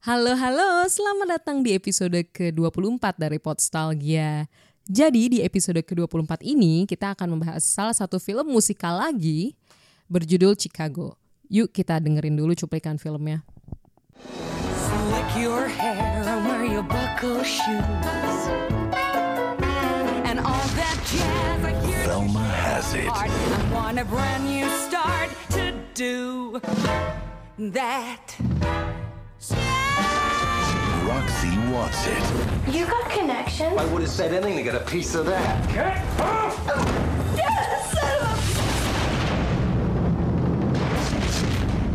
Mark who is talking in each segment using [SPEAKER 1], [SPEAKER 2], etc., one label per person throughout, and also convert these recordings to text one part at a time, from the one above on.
[SPEAKER 1] Halo halo, selamat datang di episode ke-24 dari Podstalgia. Jadi di episode ke-24 ini kita akan membahas salah satu film musikal lagi berjudul Chicago. Yuk kita dengerin dulu cuplikan filmnya.
[SPEAKER 2] Slick your hair and wear your buckle shoes. And all that jazz I hear
[SPEAKER 3] Thelma has it.
[SPEAKER 2] hard. I want a brand new start to do that.
[SPEAKER 3] Roxy wants it.
[SPEAKER 4] You got connections?
[SPEAKER 5] I would have said anything to get a piece of that.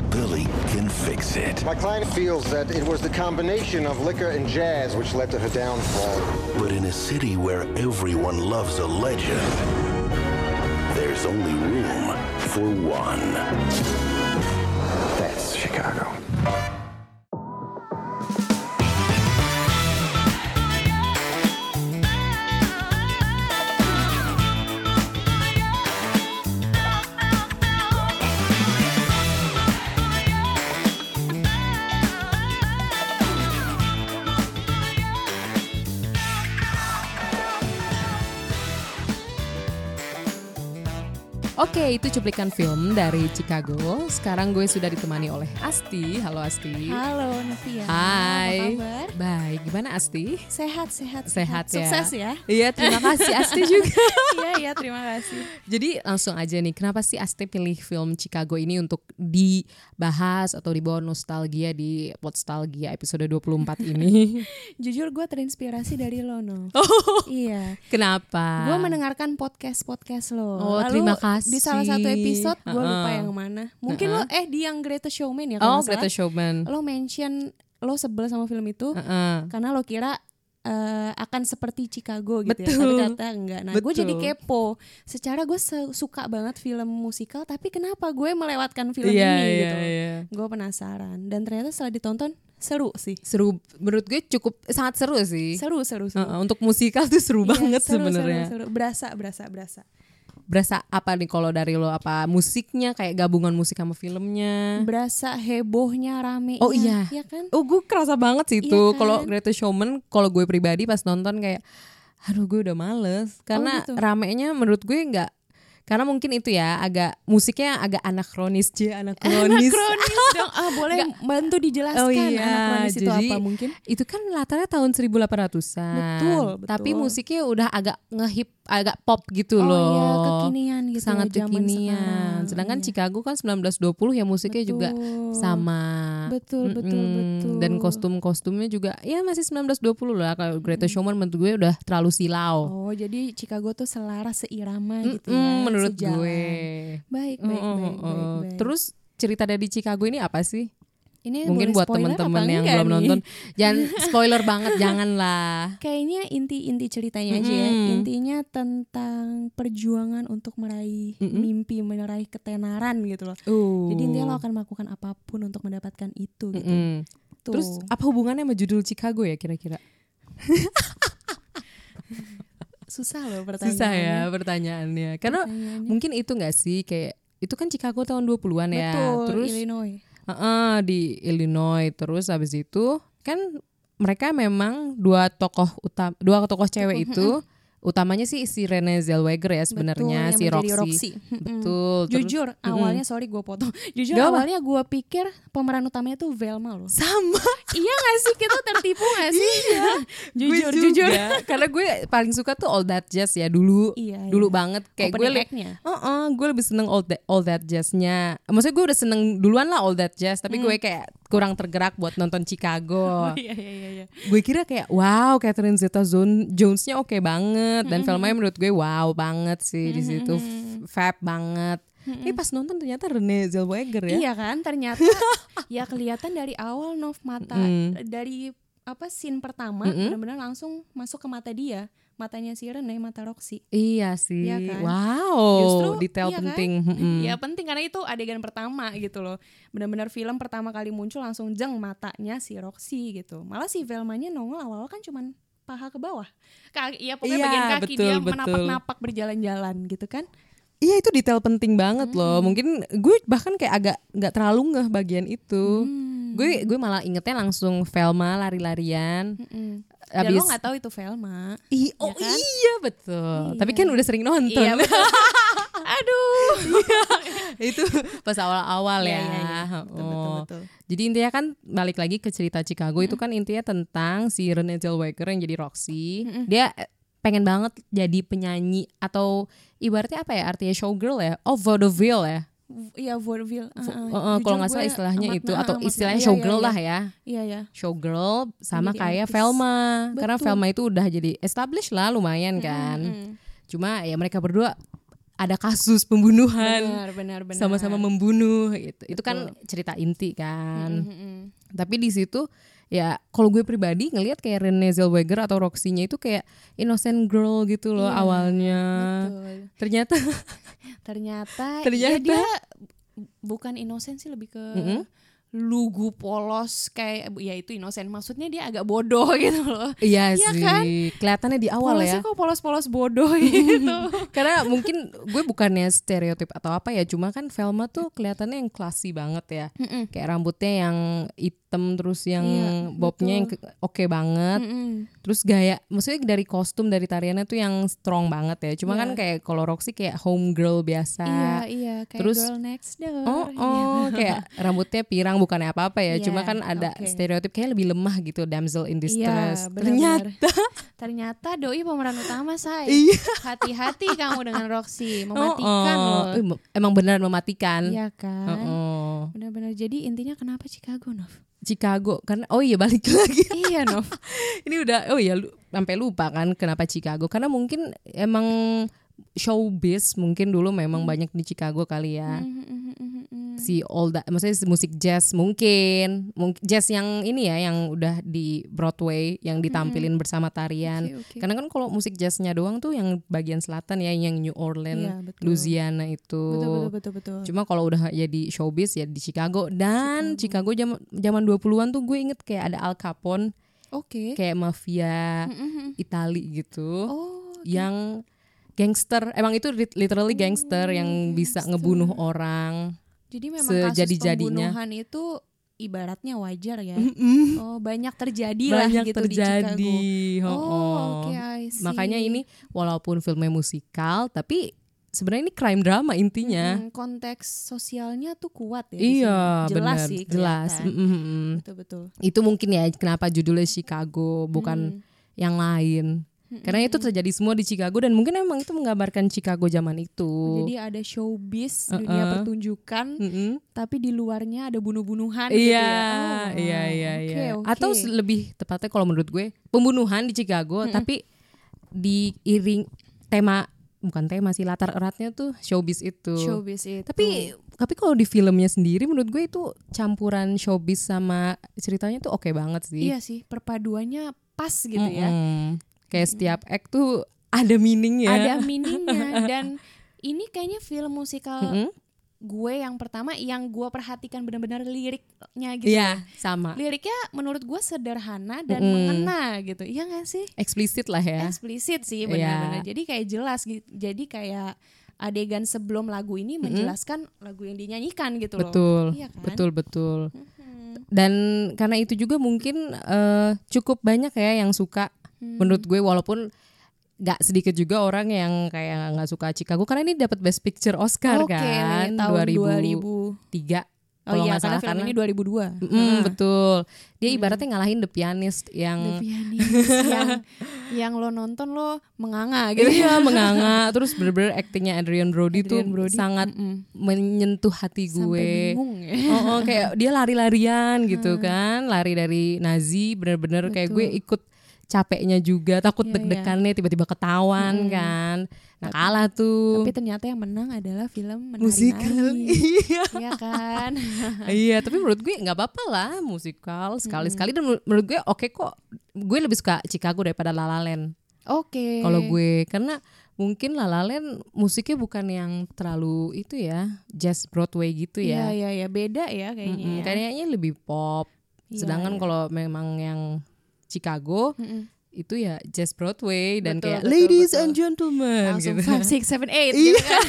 [SPEAKER 3] Billy can fix it.
[SPEAKER 6] My client feels that it was the combination of liquor and jazz which led to her downfall.
[SPEAKER 3] But in a city where everyone loves a legend, there's only room for one.
[SPEAKER 5] That's Chicago.
[SPEAKER 1] Oke, itu cuplikan film dari Chicago. Sekarang gue sudah ditemani oleh Asti. Halo Asti.
[SPEAKER 7] Halo Novia. Apa
[SPEAKER 1] Hai.
[SPEAKER 7] kabar?
[SPEAKER 1] Baik, gimana Asti?
[SPEAKER 7] Sehat, sehat,
[SPEAKER 1] Sehat ya.
[SPEAKER 7] Sukses ya.
[SPEAKER 1] Iya, terima kasih Asti juga.
[SPEAKER 7] Iya, iya, terima kasih.
[SPEAKER 1] Jadi langsung aja nih, kenapa sih Asti pilih film Chicago ini untuk dibahas atau dibawa nostalgia di Podstalgia episode 24 ini?
[SPEAKER 7] Jujur gue terinspirasi dari lo, Nov.
[SPEAKER 1] Oh,
[SPEAKER 7] Iya.
[SPEAKER 1] kenapa?
[SPEAKER 7] Gue mendengarkan podcast-podcast lo.
[SPEAKER 1] Oh,
[SPEAKER 7] Lalu,
[SPEAKER 1] terima kasih.
[SPEAKER 7] Di salah satu episode gue lupa
[SPEAKER 1] Heeh.
[SPEAKER 7] yang mana. Mungkin lo eh di yang Greatest Showman ya
[SPEAKER 1] Oh,
[SPEAKER 7] kalau nggak
[SPEAKER 1] Greta
[SPEAKER 7] salah.
[SPEAKER 1] Showman.
[SPEAKER 7] Lo mention lo sebel sama film itu
[SPEAKER 1] Heeh.
[SPEAKER 7] karena lo kira eh, akan seperti Chicago gitu ya
[SPEAKER 1] Betul.
[SPEAKER 7] tapi ternyata enggak nah gue
[SPEAKER 1] Betul.
[SPEAKER 7] jadi kepo secara gue se- suka banget film musikal tapi kenapa gue melewatkan film
[SPEAKER 1] Iya,
[SPEAKER 7] ini
[SPEAKER 1] iya,
[SPEAKER 7] gitu
[SPEAKER 1] iya.
[SPEAKER 7] gue penasaran dan ternyata setelah ditonton seru sih
[SPEAKER 1] Seru, menurut gue cukup sangat seru sih.
[SPEAKER 7] seru seru seru
[SPEAKER 1] Heeh, untuk musikal tuh seru
[SPEAKER 7] Iya,
[SPEAKER 1] banget
[SPEAKER 7] seru, seru,
[SPEAKER 1] sebenarnya.
[SPEAKER 7] seru. berasa berasa berasa
[SPEAKER 1] Berasa apa nih kalau dari lo apa musiknya kayak gabungan musik sama filmnya?
[SPEAKER 7] berasa hebohnya rame
[SPEAKER 1] Oh iya.
[SPEAKER 7] iya kan
[SPEAKER 1] Oh gue kerasa banget sih itu.
[SPEAKER 7] Iya kan?
[SPEAKER 1] Kalau Greatest Showman, kalau gue pribadi pas nonton kayak, aduh gue udah males karena
[SPEAKER 7] gitu.
[SPEAKER 1] ramenya menurut gue nggak. Karena mungkin itu ya agak musiknya agak anakronis sih anakronis.
[SPEAKER 7] Anakronis dong ah boleh
[SPEAKER 1] Nggak.
[SPEAKER 7] bantu dijelaskan
[SPEAKER 1] Oh iya,
[SPEAKER 7] anakronis itu
[SPEAKER 1] jadi
[SPEAKER 7] apa mungkin
[SPEAKER 1] itu kan latarnya tahun 1800-an.
[SPEAKER 7] Betul,
[SPEAKER 1] Tapi
[SPEAKER 7] betul.
[SPEAKER 1] musiknya udah agak ngehip, agak pop gitu
[SPEAKER 7] Oh
[SPEAKER 1] loh.
[SPEAKER 7] iya, kekinian gitu,
[SPEAKER 1] Sangat
[SPEAKER 7] zaman
[SPEAKER 1] kekinian.
[SPEAKER 7] sekarang.
[SPEAKER 1] Sedangkan
[SPEAKER 7] Iya.
[SPEAKER 1] Chicago kan 1920 ya musiknya juga
[SPEAKER 7] Betul.
[SPEAKER 1] sama.
[SPEAKER 7] Betul, betul, betul.
[SPEAKER 1] Dan kostum-kostumnya juga ya masih 1920 lah kalau Greta Showman menurut gue udah terlalu silau.
[SPEAKER 7] oh jadi Chicago tuh selaras seirama gitu ya
[SPEAKER 1] Mm-mm, menurut
[SPEAKER 7] sejalan.
[SPEAKER 1] gue.
[SPEAKER 7] baik
[SPEAKER 1] Oh,
[SPEAKER 7] baik, baik,
[SPEAKER 1] oh,
[SPEAKER 7] baik,
[SPEAKER 1] oh.
[SPEAKER 7] baik.
[SPEAKER 1] Terus cerita dari Chicago ini apa sih?
[SPEAKER 7] ini
[SPEAKER 1] Mungkin
[SPEAKER 7] boleh
[SPEAKER 1] buat
[SPEAKER 7] spoiler
[SPEAKER 1] teman-teman
[SPEAKER 7] apa
[SPEAKER 1] yang
[SPEAKER 7] enggak
[SPEAKER 1] belum
[SPEAKER 7] nih?
[SPEAKER 1] nonton, jangan spoiler banget, janganlah.
[SPEAKER 7] kayaknya inti-inti ceritanya aja ya. Intinya tentang perjuangan untuk meraih mimpi, meraih ketenaran gitu loh.
[SPEAKER 1] Uh.
[SPEAKER 7] Jadi intinya lo akan melakukan apapun untuk mendapatkan itu gitu.
[SPEAKER 1] Mm.
[SPEAKER 7] Tuh.
[SPEAKER 1] Terus apa hubungannya sama judul Chicago ya kira-kira?
[SPEAKER 7] susah loh pertanyaannya.
[SPEAKER 1] Susah ya pertanyaannya. Karena
[SPEAKER 7] Pertanyaannya.
[SPEAKER 1] mungkin itu nggak sih kayak itu kan Chicago tahun 20-an ya.
[SPEAKER 7] Betul,
[SPEAKER 1] Terus
[SPEAKER 7] Illinois.
[SPEAKER 1] heeh, di Illinois terus habis itu kan mereka memang dua tokoh utam dua tokoh cewek itu utamanya sih si Renee Zellweger ya sebenarnya
[SPEAKER 7] yang
[SPEAKER 1] si
[SPEAKER 7] menjadi
[SPEAKER 1] Roxy.
[SPEAKER 7] Roxy. Mm-mm.
[SPEAKER 1] Betul. terus-
[SPEAKER 7] Jujur, awalnya sorry gue potong. Jujur
[SPEAKER 1] Gak apa.
[SPEAKER 7] awalnya gue pikir pemeran utamanya tuh Velma loh.
[SPEAKER 1] sama
[SPEAKER 7] iya gak sih kita tertipu gak sih? iya. jujur,
[SPEAKER 1] Gue
[SPEAKER 7] jujur.
[SPEAKER 1] juga. Iya, karena gue paling suka tuh All That Jazz ya dulu
[SPEAKER 7] Iya,
[SPEAKER 1] dulu
[SPEAKER 7] iya.
[SPEAKER 1] banget kayak gue
[SPEAKER 7] Opening
[SPEAKER 1] li-
[SPEAKER 7] act-nya.
[SPEAKER 1] Heeh, gue lebih seneng All That All That Jazz-nya maksudnya gue udah seneng duluan lah All That Jazz tapi gue kayak kurang tergerak buat nonton Chicago
[SPEAKER 7] Hmm. Iya, iya, iya, iya.
[SPEAKER 1] gue kira kayak wow Catherine Zeta Zon- Jones-nya oke banget
[SPEAKER 7] Hmm,
[SPEAKER 1] dan filmnya menurut gue wow banget sih di situ F- fab banget tapi pas nonton ternyata Renee Zellweger ya
[SPEAKER 7] Hmm, Iya kan, ternyata ya kelihatan dari awal Nov mata
[SPEAKER 1] Mm.
[SPEAKER 7] dari apa scene pertama benar-benar langsung masuk ke mata dia, matanya si Rene, mata Roxy.
[SPEAKER 1] Iya sih
[SPEAKER 7] Iya kan?
[SPEAKER 1] wow Oh, detail
[SPEAKER 7] iya kan?
[SPEAKER 1] penting Hmm, Mm-mm.
[SPEAKER 7] Iya penting karena itu adegan pertama gitu loh. Benar-benar film pertama kali muncul langsung jeng matanya si Roxy gitu. Malah si Velmanya nongol awal-awal kan cuman paha ke bawah. Kaki, iya pokoknya
[SPEAKER 1] Iya,
[SPEAKER 7] bagian kaki
[SPEAKER 1] betul,
[SPEAKER 7] dia
[SPEAKER 1] betul.
[SPEAKER 7] menapak-napak berjalan-jalan gitu kan.
[SPEAKER 1] Iya itu detail penting banget loh. Mungkin gue bahkan kayak agak nggak terlalu ngeh bagian itu.
[SPEAKER 7] Hmm.
[SPEAKER 1] Gue gue malah ingetnya langsung Velma lari-larian.
[SPEAKER 7] Dan lo
[SPEAKER 1] Abis
[SPEAKER 7] nggak tahu itu Velma.
[SPEAKER 1] Ih, oh
[SPEAKER 7] ya kan?
[SPEAKER 1] iya betul. Tapi kan udah sering nonton.
[SPEAKER 7] Iya, betul. Aduh.
[SPEAKER 1] itu pas awal-awal
[SPEAKER 7] Iya,
[SPEAKER 1] ya.
[SPEAKER 7] iya, iya. Betul, betul,
[SPEAKER 1] Oh.
[SPEAKER 7] betul.
[SPEAKER 1] Jadi intinya kan balik lagi ke cerita Chicago itu kan intinya tentang si Renee Zellweger yang jadi Roxy. Dia eh, pengen banget jadi penyanyi atau ibaratnya apa ya artinya showgirl ya? Oh vaudeville ya.
[SPEAKER 7] V- Iya vaudeville. Uh, uh,
[SPEAKER 1] Eh, eh, kalau
[SPEAKER 7] jujur
[SPEAKER 1] nggak salah
[SPEAKER 7] gue
[SPEAKER 1] istilahnya
[SPEAKER 7] amat
[SPEAKER 1] itu
[SPEAKER 7] nah,
[SPEAKER 1] atau
[SPEAKER 7] amat nah.
[SPEAKER 1] istilahnya
[SPEAKER 7] Iya,
[SPEAKER 1] showgirl
[SPEAKER 7] iya,
[SPEAKER 1] lah ya.
[SPEAKER 7] Iya iya.
[SPEAKER 1] Showgirl sama
[SPEAKER 7] Jadi
[SPEAKER 1] kayak
[SPEAKER 7] artis.
[SPEAKER 1] Velma. Karena
[SPEAKER 7] Betul.
[SPEAKER 1] Velma itu udah jadi established lah lumayan kan. Cuma ya mereka berdua ada kasus pembunuhan.
[SPEAKER 7] Benar benar benar.
[SPEAKER 1] Sama-sama membunuh gitu. Itu kan cerita inti kan. Tapi di situ ya kalau gue pribadi ngelihat kayak Renee Zellweger atau Roxy-nya itu kayak innocent girl gitu loh awalnya.
[SPEAKER 7] Iya, Betul.
[SPEAKER 1] Ternyata
[SPEAKER 7] Ternyata,
[SPEAKER 1] Ternyata-
[SPEAKER 7] ya dia bu- bukan inosen sih lebih ke lugu polos kayak ya itu inosen. Maksudnya dia agak bodoh gitu loh.
[SPEAKER 1] iya
[SPEAKER 7] Iya
[SPEAKER 1] sih.
[SPEAKER 7] kan?
[SPEAKER 1] Kelihatannya di awal ya.
[SPEAKER 7] Polosnya kok polos-polos bodoh gitu.
[SPEAKER 1] Karena mungkin gue bukannya stereotip atau apa ya, cuma kan Velma tuh kelihatannya yang classy banget ya. Kayak rambutnya yang hitam terus yang
[SPEAKER 7] Iya,
[SPEAKER 1] bobnya yang ke- oke banget. Terus gaya, maksudnya dari kostum dari tariannya tuh yang strong banget ya. Cuma kan kayak kalau Roxy kayak home girl biasa.
[SPEAKER 7] iya, iya, kayak
[SPEAKER 1] terus-
[SPEAKER 7] girl next door.
[SPEAKER 1] Oh, oh kayak rambutnya pirang bukannya apa-apa ya.
[SPEAKER 7] Iya,
[SPEAKER 1] Cuma kan ada
[SPEAKER 7] oke.
[SPEAKER 1] stereotip kayak lebih lemah gitu damsel in
[SPEAKER 7] Iya,
[SPEAKER 1] distress.
[SPEAKER 7] benar-benar.
[SPEAKER 1] Ternyata
[SPEAKER 7] Ternyata doi pemeran utama, saya.
[SPEAKER 1] Iya.
[SPEAKER 7] Hati-hati kamu dengan Roxy,
[SPEAKER 1] Oh, oh.
[SPEAKER 7] mematikan
[SPEAKER 1] Eh,
[SPEAKER 7] loh.
[SPEAKER 1] me- Emang beneran mematikan.
[SPEAKER 7] Iya kan?
[SPEAKER 1] Oh.
[SPEAKER 7] Benar-benar. Jadi intinya kenapa Chicago, Nov?
[SPEAKER 1] Chicago karena oh iya balik lagi
[SPEAKER 7] iya, Nov.
[SPEAKER 1] ini udah oh iya lu- sampai lupa kan kenapa Chicago karena mungkin emang showbiz mungkin dulu memang
[SPEAKER 7] Hmm.
[SPEAKER 1] banyak di Chicago kali ya si old maksudnya si musik jazz mungkin mungkin jazz yang ini ya yang udah di Broadway yang ditampilin bersama tarian
[SPEAKER 7] Hmm, Oke, oke.
[SPEAKER 1] karena kan kalau musik jazznya doang tuh yang bagian selatan ya yang New Orleans
[SPEAKER 7] Iya, betul.
[SPEAKER 1] Louisiana itu
[SPEAKER 7] Betul, betul, betul, betul.
[SPEAKER 1] Cuma kalau udah jadi showbiz ya di Chicago dan Chicago zaman zaman 20-an tuh gue inget kayak ada Al Capone
[SPEAKER 7] Oke. Mhm.
[SPEAKER 1] kayak mafia Itali gitu
[SPEAKER 7] Oh,
[SPEAKER 1] yang gangster emang itu lit- literally gangster yang bisa ngebunuh orang
[SPEAKER 7] Jadi memang kasus
[SPEAKER 1] sejadi-jadinya.
[SPEAKER 7] pembunuhan itu ibaratnya wajar ya. Oh, banyak terjadi lah
[SPEAKER 1] banyak
[SPEAKER 7] gitu di
[SPEAKER 1] terjadi
[SPEAKER 7] Chicago.
[SPEAKER 1] ho-oh.
[SPEAKER 7] Oh, oke, I see.
[SPEAKER 1] makanya ini walaupun filmnya musikal tapi sebenarnya ini crime drama intinya
[SPEAKER 7] Hmm, konteks sosialnya tuh kuat ya.
[SPEAKER 1] ya.
[SPEAKER 7] di
[SPEAKER 1] iya
[SPEAKER 7] sini. jelas
[SPEAKER 1] bener,
[SPEAKER 7] sih,
[SPEAKER 1] jelas Mm, mm, mm.
[SPEAKER 7] Betul betul.
[SPEAKER 1] itu mungkin ya kenapa judulnya Chicago
[SPEAKER 7] Hmm.
[SPEAKER 1] bukan yang lain karena itu terjadi semua di Chicago dan mungkin emang itu menggambarkan Chicago zaman itu
[SPEAKER 7] Oh, Jadi ada showbiz dunia pertunjukan,
[SPEAKER 1] Mm-mm.
[SPEAKER 7] tapi di luarnya ada bunuh-bunuhan gitu
[SPEAKER 1] Iya,
[SPEAKER 7] ya. Oh,
[SPEAKER 1] iya, iya,
[SPEAKER 7] oke,
[SPEAKER 1] iya.
[SPEAKER 7] oke.
[SPEAKER 1] Atau se- lebih tepatnya kalau menurut gue pembunuhan di
[SPEAKER 7] Hmm.
[SPEAKER 1] Chicago, tapi diiring tema bukan tema sih latar eratnya tuh showbiz itu.
[SPEAKER 7] Oh, showbiz itu.
[SPEAKER 1] Tapi tapi kalau di filmnya sendiri menurut gue itu campuran showbiz sama ceritanya tuh oke banget sih.
[SPEAKER 7] iya sih, perpaduannya pas gitu ya.
[SPEAKER 1] Mm-mm. Hmm. Kayak setiap act tuh ada meaning ya.
[SPEAKER 7] ada meaningnya dan ini kayaknya film musikal gue yang pertama yang gue perhatikan benar-benar liriknya gitu.
[SPEAKER 1] Iya, sama.
[SPEAKER 7] Liriknya menurut gue sederhana dan mengena gitu. Iya gak sih?
[SPEAKER 1] Eksplisit lah ya.
[SPEAKER 7] Eksplisit sih benar-benar. Jadi kayak jelas gitu. Jadi kayak adegan sebelum lagu ini menjelaskan lagu yang dinyanyikan gitu loh.
[SPEAKER 1] Betul,
[SPEAKER 7] Iya kan? Hmm.
[SPEAKER 1] betul, betul. Dan karena itu juga mungkin eh, cukup banyak ya yang suka
[SPEAKER 7] Hmm.
[SPEAKER 1] menurut gue walaupun nggak sedikit juga orang yang kayak nggak suka Chicago karena ini dapat Best Picture Oscar
[SPEAKER 7] Oke,
[SPEAKER 1] kan 2003
[SPEAKER 7] tahun Oh
[SPEAKER 1] kalau
[SPEAKER 7] iya,
[SPEAKER 1] nggak
[SPEAKER 7] karena
[SPEAKER 1] salah
[SPEAKER 7] film
[SPEAKER 1] karena
[SPEAKER 7] ini 2002.
[SPEAKER 1] Mm, betul dia ibaratnya ngalahin The Pianist yang
[SPEAKER 7] Pianis Iya yang yang lo nonton lo menganga gitu.
[SPEAKER 1] Iya menganga terus bener-bener aktingnya Adrian Brody
[SPEAKER 7] Adrian
[SPEAKER 1] tuh
[SPEAKER 7] Brody,
[SPEAKER 1] sangat menyentuh hati gue
[SPEAKER 7] Sampai bingung Hmm. ya.
[SPEAKER 1] Oh, oh, kayak dia lari-larian gitu kan, lari dari Nazi, bener-bener kayak gue ikut capeknya juga, takut deg-degannya tiba-tiba ketahuan kan, nah kalah tuh.
[SPEAKER 7] Iya, Tapi ternyata yang menang adalah film menari
[SPEAKER 1] Musikal. Iya.
[SPEAKER 7] Iya kan?
[SPEAKER 1] iya, tapi menurut gue nggak apa-apa lah musikal sekali-sekali dan menur- menurut gue oke kok. Gue lebih suka Chicago daripada La La Land
[SPEAKER 7] Oke.
[SPEAKER 1] kalau gue karena mungkin La La Land musiknya bukan yang terlalu itu ya, jazz Broadway gitu ya.
[SPEAKER 7] Iya, iya, iya, iya. beda ya kayaknya.
[SPEAKER 1] Mm-mm,
[SPEAKER 7] ya.
[SPEAKER 1] Kayaknya lebih pop. Sedangkan kalau memang yang Chicago itu ya jazz Broadway dan
[SPEAKER 7] Betul,
[SPEAKER 1] kayak
[SPEAKER 7] betul,
[SPEAKER 1] ladies
[SPEAKER 7] betul.
[SPEAKER 1] and gentlemen
[SPEAKER 7] Langsung
[SPEAKER 1] gitu.
[SPEAKER 7] 5 6 7 8 gitu kan.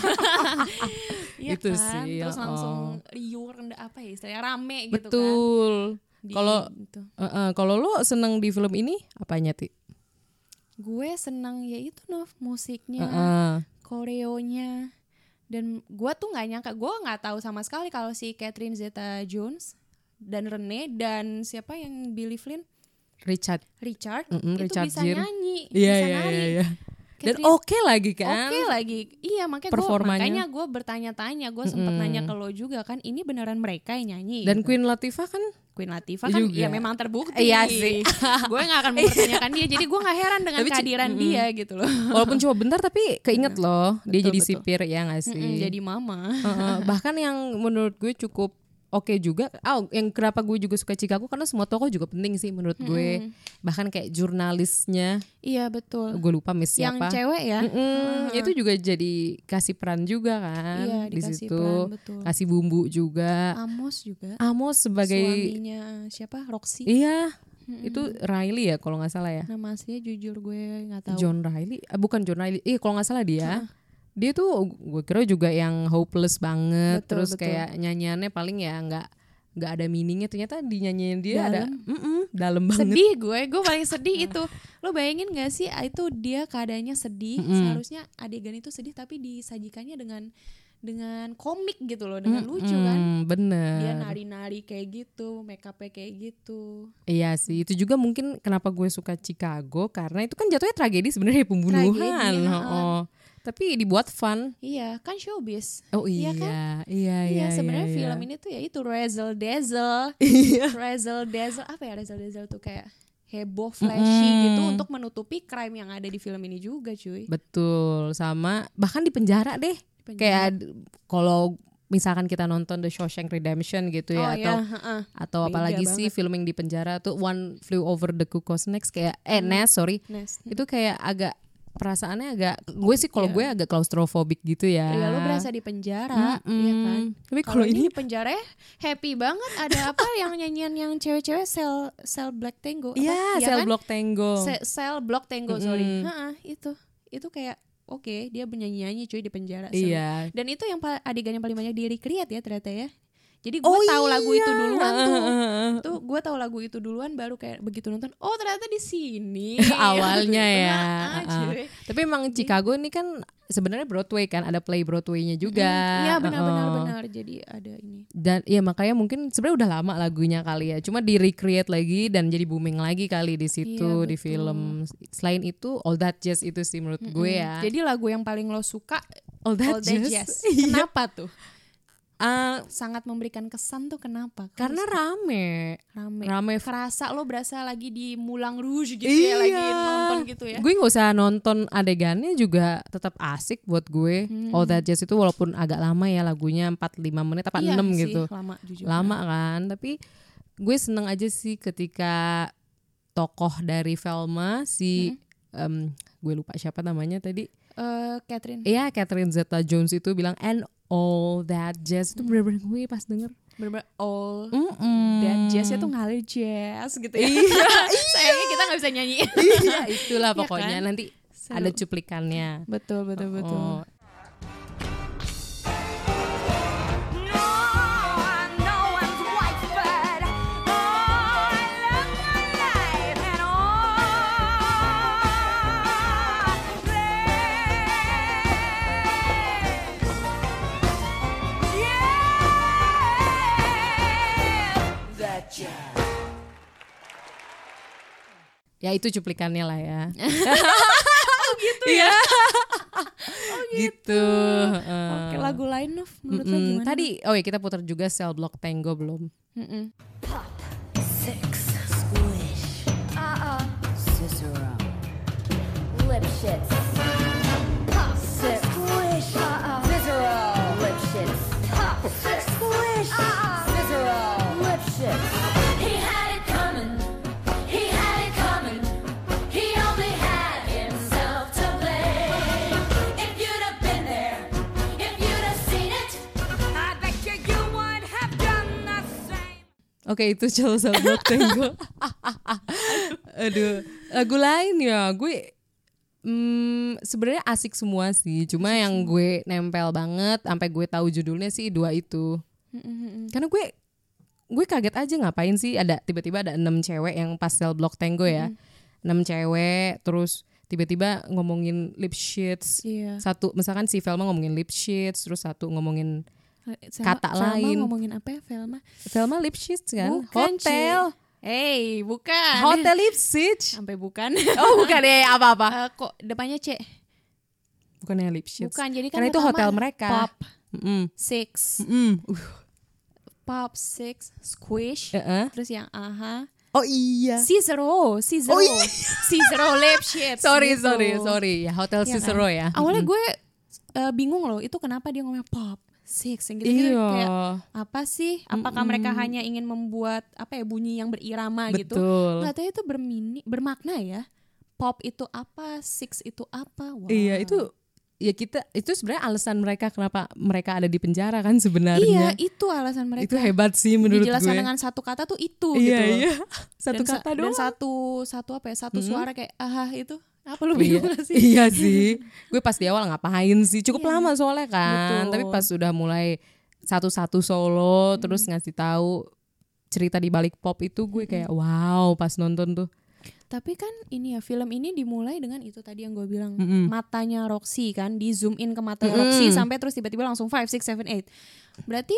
[SPEAKER 7] Iya
[SPEAKER 1] Itu
[SPEAKER 7] kan?
[SPEAKER 1] sih,
[SPEAKER 7] Terus
[SPEAKER 1] ya
[SPEAKER 7] langsung liur rendah apa ya? Istilahnya rame gitu kan.
[SPEAKER 1] Betul.
[SPEAKER 7] Di-
[SPEAKER 1] Kalau-
[SPEAKER 7] gitu.
[SPEAKER 1] Eh, eh, kalau lo seneng di film ini apanya ti?
[SPEAKER 7] gue senang ya itu Nov musiknya
[SPEAKER 1] Eh, eh.
[SPEAKER 7] koreonya dan gue tuh nggak nyangka gue nggak tahu sama sekali kalau si Catherine Zeta Jones dan Rene dan siapa yang Billy Flynn
[SPEAKER 1] Richard.
[SPEAKER 7] Richard
[SPEAKER 1] Mm-mm,
[SPEAKER 7] itu
[SPEAKER 1] Richard
[SPEAKER 7] bisa
[SPEAKER 1] Gere. Iya
[SPEAKER 7] nyanyi bisa
[SPEAKER 1] iya
[SPEAKER 7] nari
[SPEAKER 1] iya. iya. Dan
[SPEAKER 7] Catherine-
[SPEAKER 1] oke lagi kan?
[SPEAKER 7] Oke lagi, iya makanya gue
[SPEAKER 1] Performanya.
[SPEAKER 7] makanya gue bertanya-tanya, gue sempet
[SPEAKER 1] Mm-mm.
[SPEAKER 7] nanya ke lo juga kan, ini beneran mereka yang nyanyi?
[SPEAKER 1] Dan Queen Latifah kan?
[SPEAKER 7] Queen Latifah kan,
[SPEAKER 1] Juga.
[SPEAKER 7] ya memang terbukti.
[SPEAKER 1] Iya sih.
[SPEAKER 7] gue nggak akan mempertanyakan dia, jadi gue nggak heran dengan
[SPEAKER 1] Tapi c-
[SPEAKER 7] kehadiran
[SPEAKER 1] mm-mm.
[SPEAKER 7] dia gitu loh.
[SPEAKER 1] Walaupun cuma bentar tapi keinget loh dia
[SPEAKER 7] Iya. Betul,
[SPEAKER 1] jadi
[SPEAKER 7] betul.
[SPEAKER 1] sipir ya nggak sih?
[SPEAKER 7] Mm-mm, Hmm, jadi mama.
[SPEAKER 1] Heeh, bahkan yang menurut gue cukup oke juga. Ah, yang kenapa gue juga suka Chicago karena semua tokoh juga penting sih menurut gue. Bahkan kayak jurnalisnya,
[SPEAKER 7] Iya betul.
[SPEAKER 1] gue lupa miss
[SPEAKER 7] Yang
[SPEAKER 1] siapa.
[SPEAKER 7] cewek ya.
[SPEAKER 1] Mm-mm, itu juga jadi kasih peran juga kan
[SPEAKER 7] Iya,
[SPEAKER 1] di
[SPEAKER 7] dikasih
[SPEAKER 1] situ.
[SPEAKER 7] peran, betul. Ah.
[SPEAKER 1] Kasih bumbu juga.
[SPEAKER 7] Amos juga.
[SPEAKER 1] Amos sebagai
[SPEAKER 7] Suaminya siapa? Roxy.
[SPEAKER 1] iya, itu Riley ya kalau nggak salah ya.
[SPEAKER 7] Nama aslinya jujur gue nggak tahu.
[SPEAKER 1] John Riley, eh, bukan John Riley. Eh kalau nggak salah dia. Dia tuh gue kira juga yang hopeless banget,
[SPEAKER 7] Betul,
[SPEAKER 1] terus
[SPEAKER 7] betul.
[SPEAKER 1] kayak nyanyiannya paling ya nggak nggak ada meaningnya. Ternyata di nyanyian dia ada
[SPEAKER 7] Dalam.
[SPEAKER 1] Mm-mm, dalam banget. Nah.
[SPEAKER 7] sedih kan? gue gue paling sedih itu lo bayangin gak sih ah, itu dia keadaannya sedih
[SPEAKER 1] Mm-mm.
[SPEAKER 7] seharusnya adegan itu sedih tapi disajikannya dengan dengan komik gitu loh dengan lucu kan
[SPEAKER 1] Mm, bener.
[SPEAKER 7] dia nari-nari kayak gitu make upnya kayak gitu
[SPEAKER 1] Iya sih, itu juga mungkin kenapa gue suka Chicago karena itu kan jatuhnya tragedi sebenarnya pembunuhan.
[SPEAKER 7] Tragedi, ha-ha.
[SPEAKER 1] oh. Tapi dibuat fun.
[SPEAKER 7] iya kan showbiz
[SPEAKER 1] Oh iya,
[SPEAKER 7] Iya kan?
[SPEAKER 1] iya, iya.
[SPEAKER 7] Iya sebenarnya
[SPEAKER 1] iya.
[SPEAKER 7] film ini tuh ya itu razzle dazzle, razzle dazzle apa ya razzle dazzle tuh kayak heboh flashy
[SPEAKER 1] Mm-mm.
[SPEAKER 7] gitu untuk menutupi crime yang ada di film ini juga cuy.
[SPEAKER 1] Betul, sama bahkan di penjara deh.
[SPEAKER 7] penjara.
[SPEAKER 1] Kayak ad- kalau misalkan kita nonton The Shawshank Redemption gitu
[SPEAKER 7] oh
[SPEAKER 1] ya
[SPEAKER 7] iya,
[SPEAKER 1] atau
[SPEAKER 7] heeh.
[SPEAKER 1] atau
[SPEAKER 7] Beda
[SPEAKER 1] apalagi sih filming di penjara tuh One Flew Over the Cuckoo's Nest kayak eh Nest, sorry.
[SPEAKER 7] Hmm. Nest. hmm.
[SPEAKER 1] Itu kayak agak perasaannya agak gue sih kalau gue agak claustrophobic gitu ya.
[SPEAKER 7] Iya lu berasa di penjara, iya kan?
[SPEAKER 1] Mm-mm. Tapi kalau ini
[SPEAKER 7] di penjara ya happy banget ada apa yang nyanyian yang cewek-cewek sel sel black tango. apa?
[SPEAKER 1] Iya, sel
[SPEAKER 7] kan?
[SPEAKER 1] blok tango.
[SPEAKER 7] Se- Sel block tango sorry.
[SPEAKER 1] Mm-mm.
[SPEAKER 7] Ha-ha, itu itu kayak oke dia bernyanyi nyanyi cuy di penjara. seru.
[SPEAKER 1] Iya.
[SPEAKER 7] Dan itu yang pa- adegan yang paling banyak di recreate ya ternyata ya. Jadi gue
[SPEAKER 1] Oh,
[SPEAKER 7] tahu lagu itu
[SPEAKER 1] iya.
[SPEAKER 7] duluan tuh. tuh gue tahu lagu itu duluan baru kayak begitu nonton oh ternyata di sini
[SPEAKER 1] awalnya ya.
[SPEAKER 7] Ha-ha,
[SPEAKER 1] Heeh.
[SPEAKER 7] iya. cuy. Iya.
[SPEAKER 1] Tapi emang Chicago ini kan sebenarnya Broadway kan ada play Broadway-nya juga.
[SPEAKER 7] Iya benar-benar
[SPEAKER 1] Heeh.
[SPEAKER 7] benar. Jadi ada ini.
[SPEAKER 1] Dan ya makanya mungkin sebenarnya udah lama lagunya kali ya. Cuma di recreate lagi dan jadi booming lagi kali di situ
[SPEAKER 7] Iya,
[SPEAKER 1] di
[SPEAKER 7] betul.
[SPEAKER 1] film. Selain itu All That Jazz itu sih menurut gue ya.
[SPEAKER 7] Jadi lagu yang paling lo suka
[SPEAKER 1] All That
[SPEAKER 7] All That
[SPEAKER 1] Jazz.
[SPEAKER 7] Jazz.
[SPEAKER 1] Iya.
[SPEAKER 7] Kenapa tuh?
[SPEAKER 1] Eh,
[SPEAKER 7] Sangat memberikan kesan tuh kenapa? Kok
[SPEAKER 1] karena rame.
[SPEAKER 7] rame.
[SPEAKER 1] rame.
[SPEAKER 7] Kerasa lo berasa lagi di Mulang Rouge gitu
[SPEAKER 1] Iya.
[SPEAKER 7] ya lagi nonton gitu ya.
[SPEAKER 1] Gue nggak usah nonton adegannya juga tetap asik buat gue. All That Jazz itu walaupun agak lama ya lagunya 4 5 menit apa
[SPEAKER 7] Iya
[SPEAKER 1] 6
[SPEAKER 7] sih,
[SPEAKER 1] gitu.
[SPEAKER 7] Lama jujur.
[SPEAKER 1] lama kan tapi gue seneng aja sih ketika tokoh dari Velma si em, gue lupa siapa namanya tadi
[SPEAKER 7] Eh, Catherine
[SPEAKER 1] ya Catherine Zeta Jones itu bilang and all that jazz itu bener-bener gue pas denger
[SPEAKER 7] bener-bener all
[SPEAKER 1] mm-mm.
[SPEAKER 7] that jazz itu ngalir jazz gitu ya. Iya. Sayangnya kita nggak bisa nyanyi.
[SPEAKER 1] Iya, itulah
[SPEAKER 7] Iya
[SPEAKER 1] pokoknya
[SPEAKER 7] kan?
[SPEAKER 1] nanti
[SPEAKER 7] Seru.
[SPEAKER 1] ada cuplikannya
[SPEAKER 7] betul betul betul.
[SPEAKER 1] oh ya itu cuplikannya lah ya
[SPEAKER 7] Oh,
[SPEAKER 1] gitu ya gitu, heeh.
[SPEAKER 7] Oke lagu lain Nov menurut lo
[SPEAKER 1] Mm,
[SPEAKER 7] gimana?
[SPEAKER 1] tadi oh ya kita putar juga Cell Block Tango belum
[SPEAKER 7] Mm-mm.
[SPEAKER 4] Six. Squish. Uh-uh. Cicero. Lipschitz. Pop. Six. Squish. Uh-uh. Cicero. Lipschitz. Pop. Six. Squish. Uh-uh. Cicero. Lipschitz. He had it coming. He had it coming. He only had himself to blame. If you'd have been there, if you'd have seen it, I bet you you would have done the same.
[SPEAKER 1] Oke itu Cello sama Blok Tango Aduh Lagu lain ya Gue hmm, sebenarnya asik semua sih Cuma yang
[SPEAKER 7] Hmm.
[SPEAKER 1] gue
[SPEAKER 7] Hmm,
[SPEAKER 1] nempel banget Sampai gue tahu judulnya sih dua itu Karena gue gue kaget aja ngapain sih ada tiba-tiba ada enam cewek yang pastel block tango ya
[SPEAKER 7] Hmm,
[SPEAKER 1] enam cewek terus tiba-tiba ngomongin lip sheets
[SPEAKER 7] Iya.
[SPEAKER 1] satu misalkan si Velma ngomongin lip sheets terus satu ngomongin
[SPEAKER 7] Sama-
[SPEAKER 1] Kata
[SPEAKER 7] sama
[SPEAKER 1] lain.
[SPEAKER 7] Eh, ngomongin apa ya Velma?
[SPEAKER 1] Velma lip sheets kan
[SPEAKER 7] Bukan, Ci.
[SPEAKER 1] hotel
[SPEAKER 7] Hey, bukan.
[SPEAKER 1] hotel lip sheets
[SPEAKER 7] Sampai bukan.
[SPEAKER 1] oh bukan ya apa-apa
[SPEAKER 7] Eh, kok depannya C?
[SPEAKER 1] bukannya lip sheets
[SPEAKER 7] Bukan. Jadi kan
[SPEAKER 1] karena itu
[SPEAKER 7] pertama
[SPEAKER 1] hotel mereka
[SPEAKER 7] Pop
[SPEAKER 1] Mm-mm.
[SPEAKER 7] six,
[SPEAKER 1] Mm. Uh,
[SPEAKER 7] pop six, squish.
[SPEAKER 1] eh-eh.
[SPEAKER 7] Terus yang aha.
[SPEAKER 1] oh iya
[SPEAKER 7] Cicero,
[SPEAKER 1] Oh,
[SPEAKER 7] Cicero,
[SPEAKER 1] iya.
[SPEAKER 7] Cicero lip sheets.
[SPEAKER 1] sorry
[SPEAKER 7] gitu.
[SPEAKER 1] sorry sorry ya hotel
[SPEAKER 7] Iya kan?
[SPEAKER 1] Cicero ya
[SPEAKER 7] Awalnya gue eh, bingung loh, itu kenapa dia ngomong pop six yang gitu,
[SPEAKER 1] iya
[SPEAKER 7] kayak apa sih? Apakah mereka hanya ingin membuat apa ya bunyi yang berirama gitu?
[SPEAKER 1] Betul.
[SPEAKER 7] Nggak tahu itu bermini, bermakna ya. Pop itu apa, six itu apa? Wow.
[SPEAKER 1] iya itu ya kita itu sebenarnya alasan mereka kenapa mereka ada di penjara kan
[SPEAKER 7] Iya,
[SPEAKER 1] sebenarnya
[SPEAKER 7] itu alasan mereka.
[SPEAKER 1] itu hebat sih menurut
[SPEAKER 7] Dijelaskan
[SPEAKER 1] gue
[SPEAKER 7] dengan satu kata tuh itu
[SPEAKER 1] iya
[SPEAKER 7] gitu. loh.
[SPEAKER 1] iya satu
[SPEAKER 7] dan, sa-
[SPEAKER 1] kata
[SPEAKER 7] dan
[SPEAKER 1] doang Hmm.
[SPEAKER 7] satu satu apa ya? Satu suara kayak aha itu. Apa lu
[SPEAKER 1] Iya,
[SPEAKER 7] bingung gak sih? Iya.
[SPEAKER 1] iya sih. Gue pas di awal ngapain sih? Cukup lama soalnya kan.
[SPEAKER 7] Betul. Hmm.
[SPEAKER 1] Tapi pas sudah mulai satu-satu solo terus ngasih tahu cerita di balik pop itu gue kayak
[SPEAKER 7] Hmm.
[SPEAKER 1] wow pas nonton tuh.
[SPEAKER 7] Tapi kan ini ya film ini dimulai dengan itu tadi yang gue bilang matanya Roxy kan di zoom in ke mata Roxy sampai terus tiba-tiba langsung 5 6 7 8. Berarti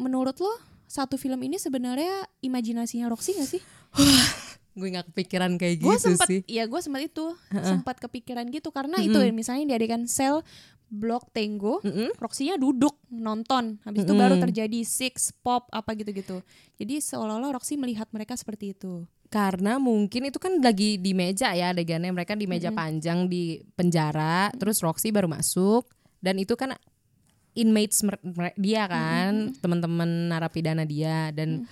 [SPEAKER 7] menurut lo satu film ini sebenarnya imajinasinya Roxy gak sih?
[SPEAKER 1] Gue nggak kepikiran kayak
[SPEAKER 7] Gue
[SPEAKER 1] gitu
[SPEAKER 7] sempat
[SPEAKER 1] sih.
[SPEAKER 7] ya gue sempat itu sempat kepikiran gitu karena itu misalnya di adegan sel blok tango, Roxy-nya duduk nonton. Habis itu baru terjadi six pop apa gitu-gitu. Jadi seolah-olah Roxy melihat mereka seperti itu.
[SPEAKER 1] Karena mungkin itu kan lagi di meja ya adegannya mereka di meja panjang di penjara terus Roxy baru masuk dan itu kan inmates mer- mere- dia kan teman-teman narapidana dia dan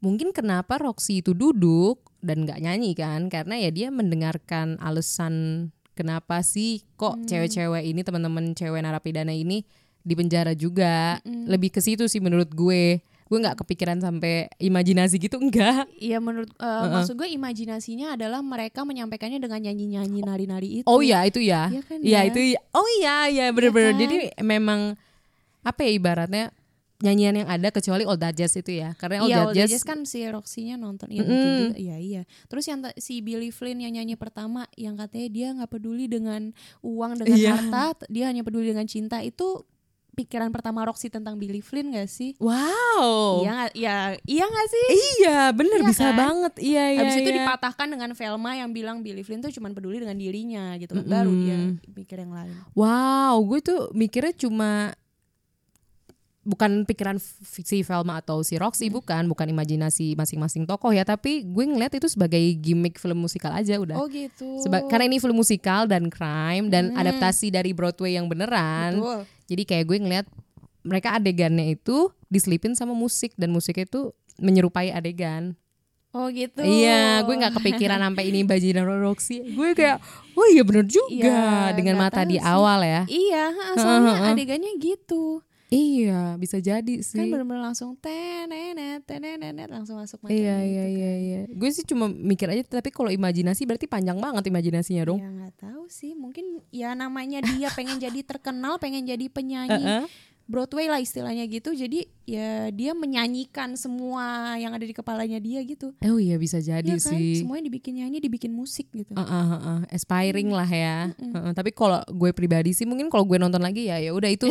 [SPEAKER 1] mungkin kenapa Roxy itu duduk dan nggak nyanyi kan karena ya dia mendengarkan alasan kenapa sih kok cewek-cewek ini teman-teman cewek narapidana ini di penjara juga lebih ke situ sih menurut gue gue nggak kepikiran sampai imajinasi gitu enggak
[SPEAKER 7] Iya menurut eh, maksud gue imajinasinya adalah mereka menyampaikannya dengan nyanyi-nyanyi nari-nari itu.
[SPEAKER 1] Oh iya itu ya.
[SPEAKER 7] Iya kan,
[SPEAKER 1] Iya
[SPEAKER 7] ya?
[SPEAKER 1] itu ya. Oh iya ya bener-bener.
[SPEAKER 7] kan?
[SPEAKER 1] Jadi memang apa ya ibaratnya nyanyian yang ada kecuali Old That Jazz itu ya. Karena Old
[SPEAKER 7] Iya,
[SPEAKER 1] That
[SPEAKER 7] Old
[SPEAKER 1] Jazz,
[SPEAKER 7] Jazz kan si Roxy-nya nonton iya betul juga. Iya, iya. Terus yang ta- si Billy Flynn yang nyanyi pertama yang katanya dia nggak peduli dengan uang dengan
[SPEAKER 1] Iya.
[SPEAKER 7] harta, dia hanya peduli dengan cinta itu pikiran pertama Roxy tentang Billy Flynn gak sih?
[SPEAKER 1] Wow.
[SPEAKER 7] Iya nggak- ya, iya gak sih?
[SPEAKER 1] Iya bener
[SPEAKER 7] Iya
[SPEAKER 1] bisa
[SPEAKER 7] kan?
[SPEAKER 1] banget. Iya iya.
[SPEAKER 7] Habis itu
[SPEAKER 1] iya.
[SPEAKER 7] dipatahkan dengan Velma yang bilang Billy Flynn tuh cuma peduli dengan dirinya gitu kan. Baru dia mikir yang lain.
[SPEAKER 1] Wow gue tuh mikirnya cuma bukan pikiran F- si Velma atau si Roxy
[SPEAKER 7] Hmm.
[SPEAKER 1] bukan bukan imajinasi masing-masing tokoh ya tapi gue ngeliat itu sebagai gimmick film musikal aja udah
[SPEAKER 7] Oh gitu.
[SPEAKER 1] Seba- kan karena ini film musikal dan crime dan adaptasi dari Broadway yang beneran.
[SPEAKER 7] Betul.
[SPEAKER 1] Jadi kayak gue ngeliat mereka adegannya itu diselipin sama musik dan musiknya itu menyerupai adegan.
[SPEAKER 7] Oh gitu.
[SPEAKER 1] Iya, gue nggak kepikiran sampai ini Bajina Roxy. Gue kayak, oh iya bener juga
[SPEAKER 7] Iya,
[SPEAKER 1] dengan
[SPEAKER 7] nggak
[SPEAKER 1] mata
[SPEAKER 7] tahu
[SPEAKER 1] di
[SPEAKER 7] sih.
[SPEAKER 1] awal ya.
[SPEAKER 7] Iya, ha, soalnya adegannya gitu.
[SPEAKER 1] Iya, bisa jadi
[SPEAKER 7] Kan
[SPEAKER 1] sih.
[SPEAKER 7] bener-bener langsung tenenet, tenenet, langsung masuk kan. mata.
[SPEAKER 1] Iya, iya, iya, iya. Gue sih cuma mikir aja, tapi kalau imajinasi berarti panjang banget imajinasinya dong.
[SPEAKER 7] Ya nggak tahu sih, mungkin ya namanya dia pengen jadi terkenal, pengen jadi penyanyi. Broadway lah istilahnya gitu. Jadi ya dia menyanyikan semua yang ada di kepalanya dia gitu.
[SPEAKER 1] Oh iya bisa jadi
[SPEAKER 7] Iya kan?
[SPEAKER 1] sih. Ah,
[SPEAKER 7] Semuanya dibikin nyanyi, dibikin musik gitu.
[SPEAKER 1] Heeh, heeh. aspiring lah ya. Heeh, tapi kalau gue pribadi sih mungkin kalau gue nonton lagi ya ya udah itu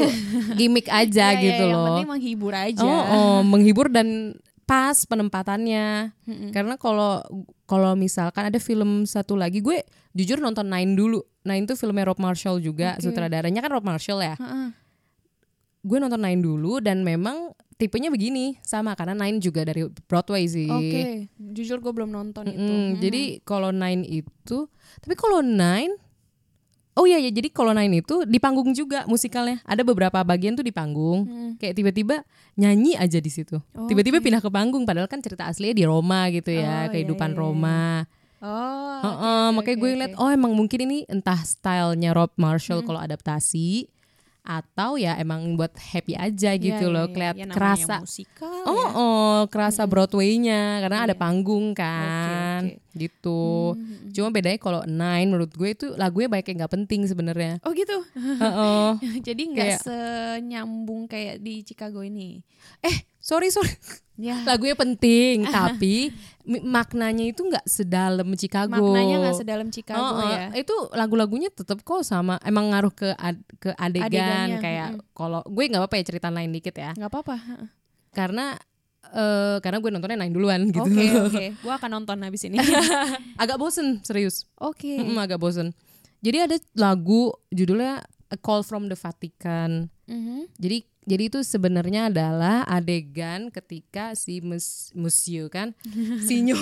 [SPEAKER 1] gimmick aja
[SPEAKER 7] Ya, ya,
[SPEAKER 1] gitu
[SPEAKER 7] yang
[SPEAKER 1] loh.
[SPEAKER 7] penting menghibur aja.
[SPEAKER 1] Oh, oh, menghibur dan pas penempatannya. Karena kalau kalau misalkan ada film satu lagi gue jujur nonton Nine dulu. Nine tuh filmnya Rob Marshall juga, sutradaranya kan Rob Marshall ya. Gue nonton Nine dulu dan memang tipenya begini sama karena Nine juga dari Broadway sih.
[SPEAKER 7] Oke, jujur gue belum nonton itu.
[SPEAKER 1] Mm, Jadi kalau Nine itu, tapi kalau Nine, oh iya ya, jadi kalau Nine itu di panggung juga musikalnya. Ada beberapa bagian tuh di panggung,
[SPEAKER 7] Hmm.
[SPEAKER 1] kayak tiba-tiba nyanyi aja di situ. tiba-tiba pindah ke panggung, padahal kan cerita aslinya di Roma gitu ya,
[SPEAKER 7] Oh, Oh,
[SPEAKER 1] kehidupan
[SPEAKER 7] iya, iya,
[SPEAKER 1] Roma.
[SPEAKER 7] Oh,
[SPEAKER 1] Heeh, makanya gue ngeliat, oh emang mungkin ini entah stylenya Rob Marshall
[SPEAKER 7] Hmm.
[SPEAKER 1] kalau adaptasi atau ya emang buat happy aja
[SPEAKER 7] Iya,
[SPEAKER 1] gitu loh, keliat
[SPEAKER 7] Ya
[SPEAKER 1] kerasa.
[SPEAKER 7] musikal.
[SPEAKER 1] Oh, oh, kerasa
[SPEAKER 7] Hmm.
[SPEAKER 1] Broadway-nya karena ada panggung kan,
[SPEAKER 7] Iya. Oke, Hmm.
[SPEAKER 1] gitu. Cuma bedanya kalau Nine menurut gue itu lagunya banyak yang nggak penting sebenarnya.
[SPEAKER 7] Oh gitu.
[SPEAKER 1] Heeh.
[SPEAKER 7] Jadi
[SPEAKER 1] Oh.
[SPEAKER 7] nggak
[SPEAKER 1] Kayak-
[SPEAKER 7] senyambung kayak di Chicago ini.
[SPEAKER 1] eh, sorry sorry
[SPEAKER 7] Ya.
[SPEAKER 1] lagunya penting tapi mi- maknanya itu nggak sedalam Chicago
[SPEAKER 7] Eh, Maknanya nggak sedalam
[SPEAKER 1] Oh,
[SPEAKER 7] Chicago
[SPEAKER 1] oh.
[SPEAKER 7] ya.
[SPEAKER 1] itu lagu-lagunya tetap kok sama emang ngaruh ke ad- ke adegan
[SPEAKER 7] Adegannya, Hmm.
[SPEAKER 1] kayak kalau gue nggak apa-apa ya cerita lain dikit ya
[SPEAKER 7] Nggak apa-apa. heeh.
[SPEAKER 1] karena eh, karena gue nontonnya lain duluan gitu
[SPEAKER 7] Oke oke. Gua akan nonton habis ini.
[SPEAKER 1] agak bosen serius
[SPEAKER 7] Oke.
[SPEAKER 1] Mm, agak bosen jadi ada lagu judulnya A Call from the Vatican
[SPEAKER 7] Mhm.
[SPEAKER 1] Jadi jadi itu sebenarnya adalah adegan ketika si mes, monsieur kan, senior,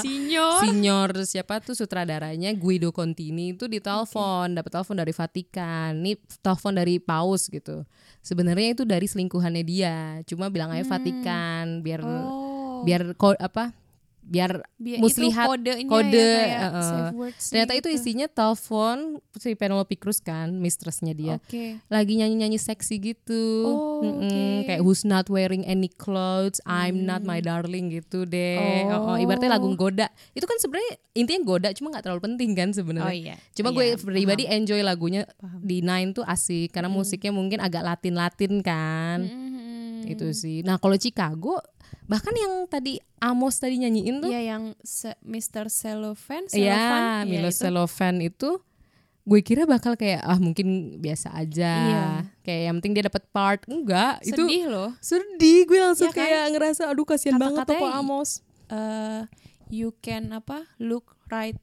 [SPEAKER 7] Sinyo.
[SPEAKER 1] senior siapa tuh sutradaranya Guido Contini itu ditelepon, dapat telepon dari Vatikan, nih telepon dari Paus gitu. Sebenarnya itu dari selingkuhannya dia, cuma bilang aja Vatikan biar
[SPEAKER 7] Hmm. Oh.
[SPEAKER 1] biar ko- apa? biar
[SPEAKER 7] Bi-
[SPEAKER 1] muslihat
[SPEAKER 7] itu kodenya
[SPEAKER 1] kode
[SPEAKER 7] ya, kayak
[SPEAKER 1] eh, eh.
[SPEAKER 7] safe words-nya
[SPEAKER 1] ternyata itu
[SPEAKER 7] gitu.
[SPEAKER 1] isinya telepon si Penelope Cruz kan mistressnya dia
[SPEAKER 7] Oke.
[SPEAKER 1] lagi nyanyi-nyanyi seksi gitu.
[SPEAKER 7] Oh,
[SPEAKER 1] Mm-mm,
[SPEAKER 7] oke. Hmm.
[SPEAKER 1] Kayak who's not wearing any clothes, I'm not my darling gitu deh. Oh. oh, ibaratnya lagu goda. Itu kan sebenarnya intinya goda cuma nggak terlalu penting kan sebenarnya.
[SPEAKER 7] Oh, iya.
[SPEAKER 1] Cuma
[SPEAKER 7] Iya,
[SPEAKER 1] gue pribadi enjoy lagunya di Nine tuh asik karena
[SPEAKER 7] Hmm.
[SPEAKER 1] musiknya mungkin agak Latin-Latin kan. Itu sih. Nah, kalau Chicago bahkan yang tadi Amos tadi nyanyiin tuh
[SPEAKER 7] Iya yang se- Mr. Cellophane,
[SPEAKER 1] Iya,
[SPEAKER 7] Cellophane,
[SPEAKER 1] Milo
[SPEAKER 7] itu.
[SPEAKER 1] Cellophane itu gue kira bakal kayak ah mungkin biasa aja.
[SPEAKER 7] Iya.
[SPEAKER 1] Kayak yang penting dia dapat part. Enggak, itu
[SPEAKER 7] Sedih loh.
[SPEAKER 1] sedih. Gue langsung
[SPEAKER 7] Iya kan?
[SPEAKER 1] kayak ngerasa aduh kasihan banget
[SPEAKER 7] Kata-katanya-
[SPEAKER 1] toko Amos.
[SPEAKER 7] Eh, you can apa? Look right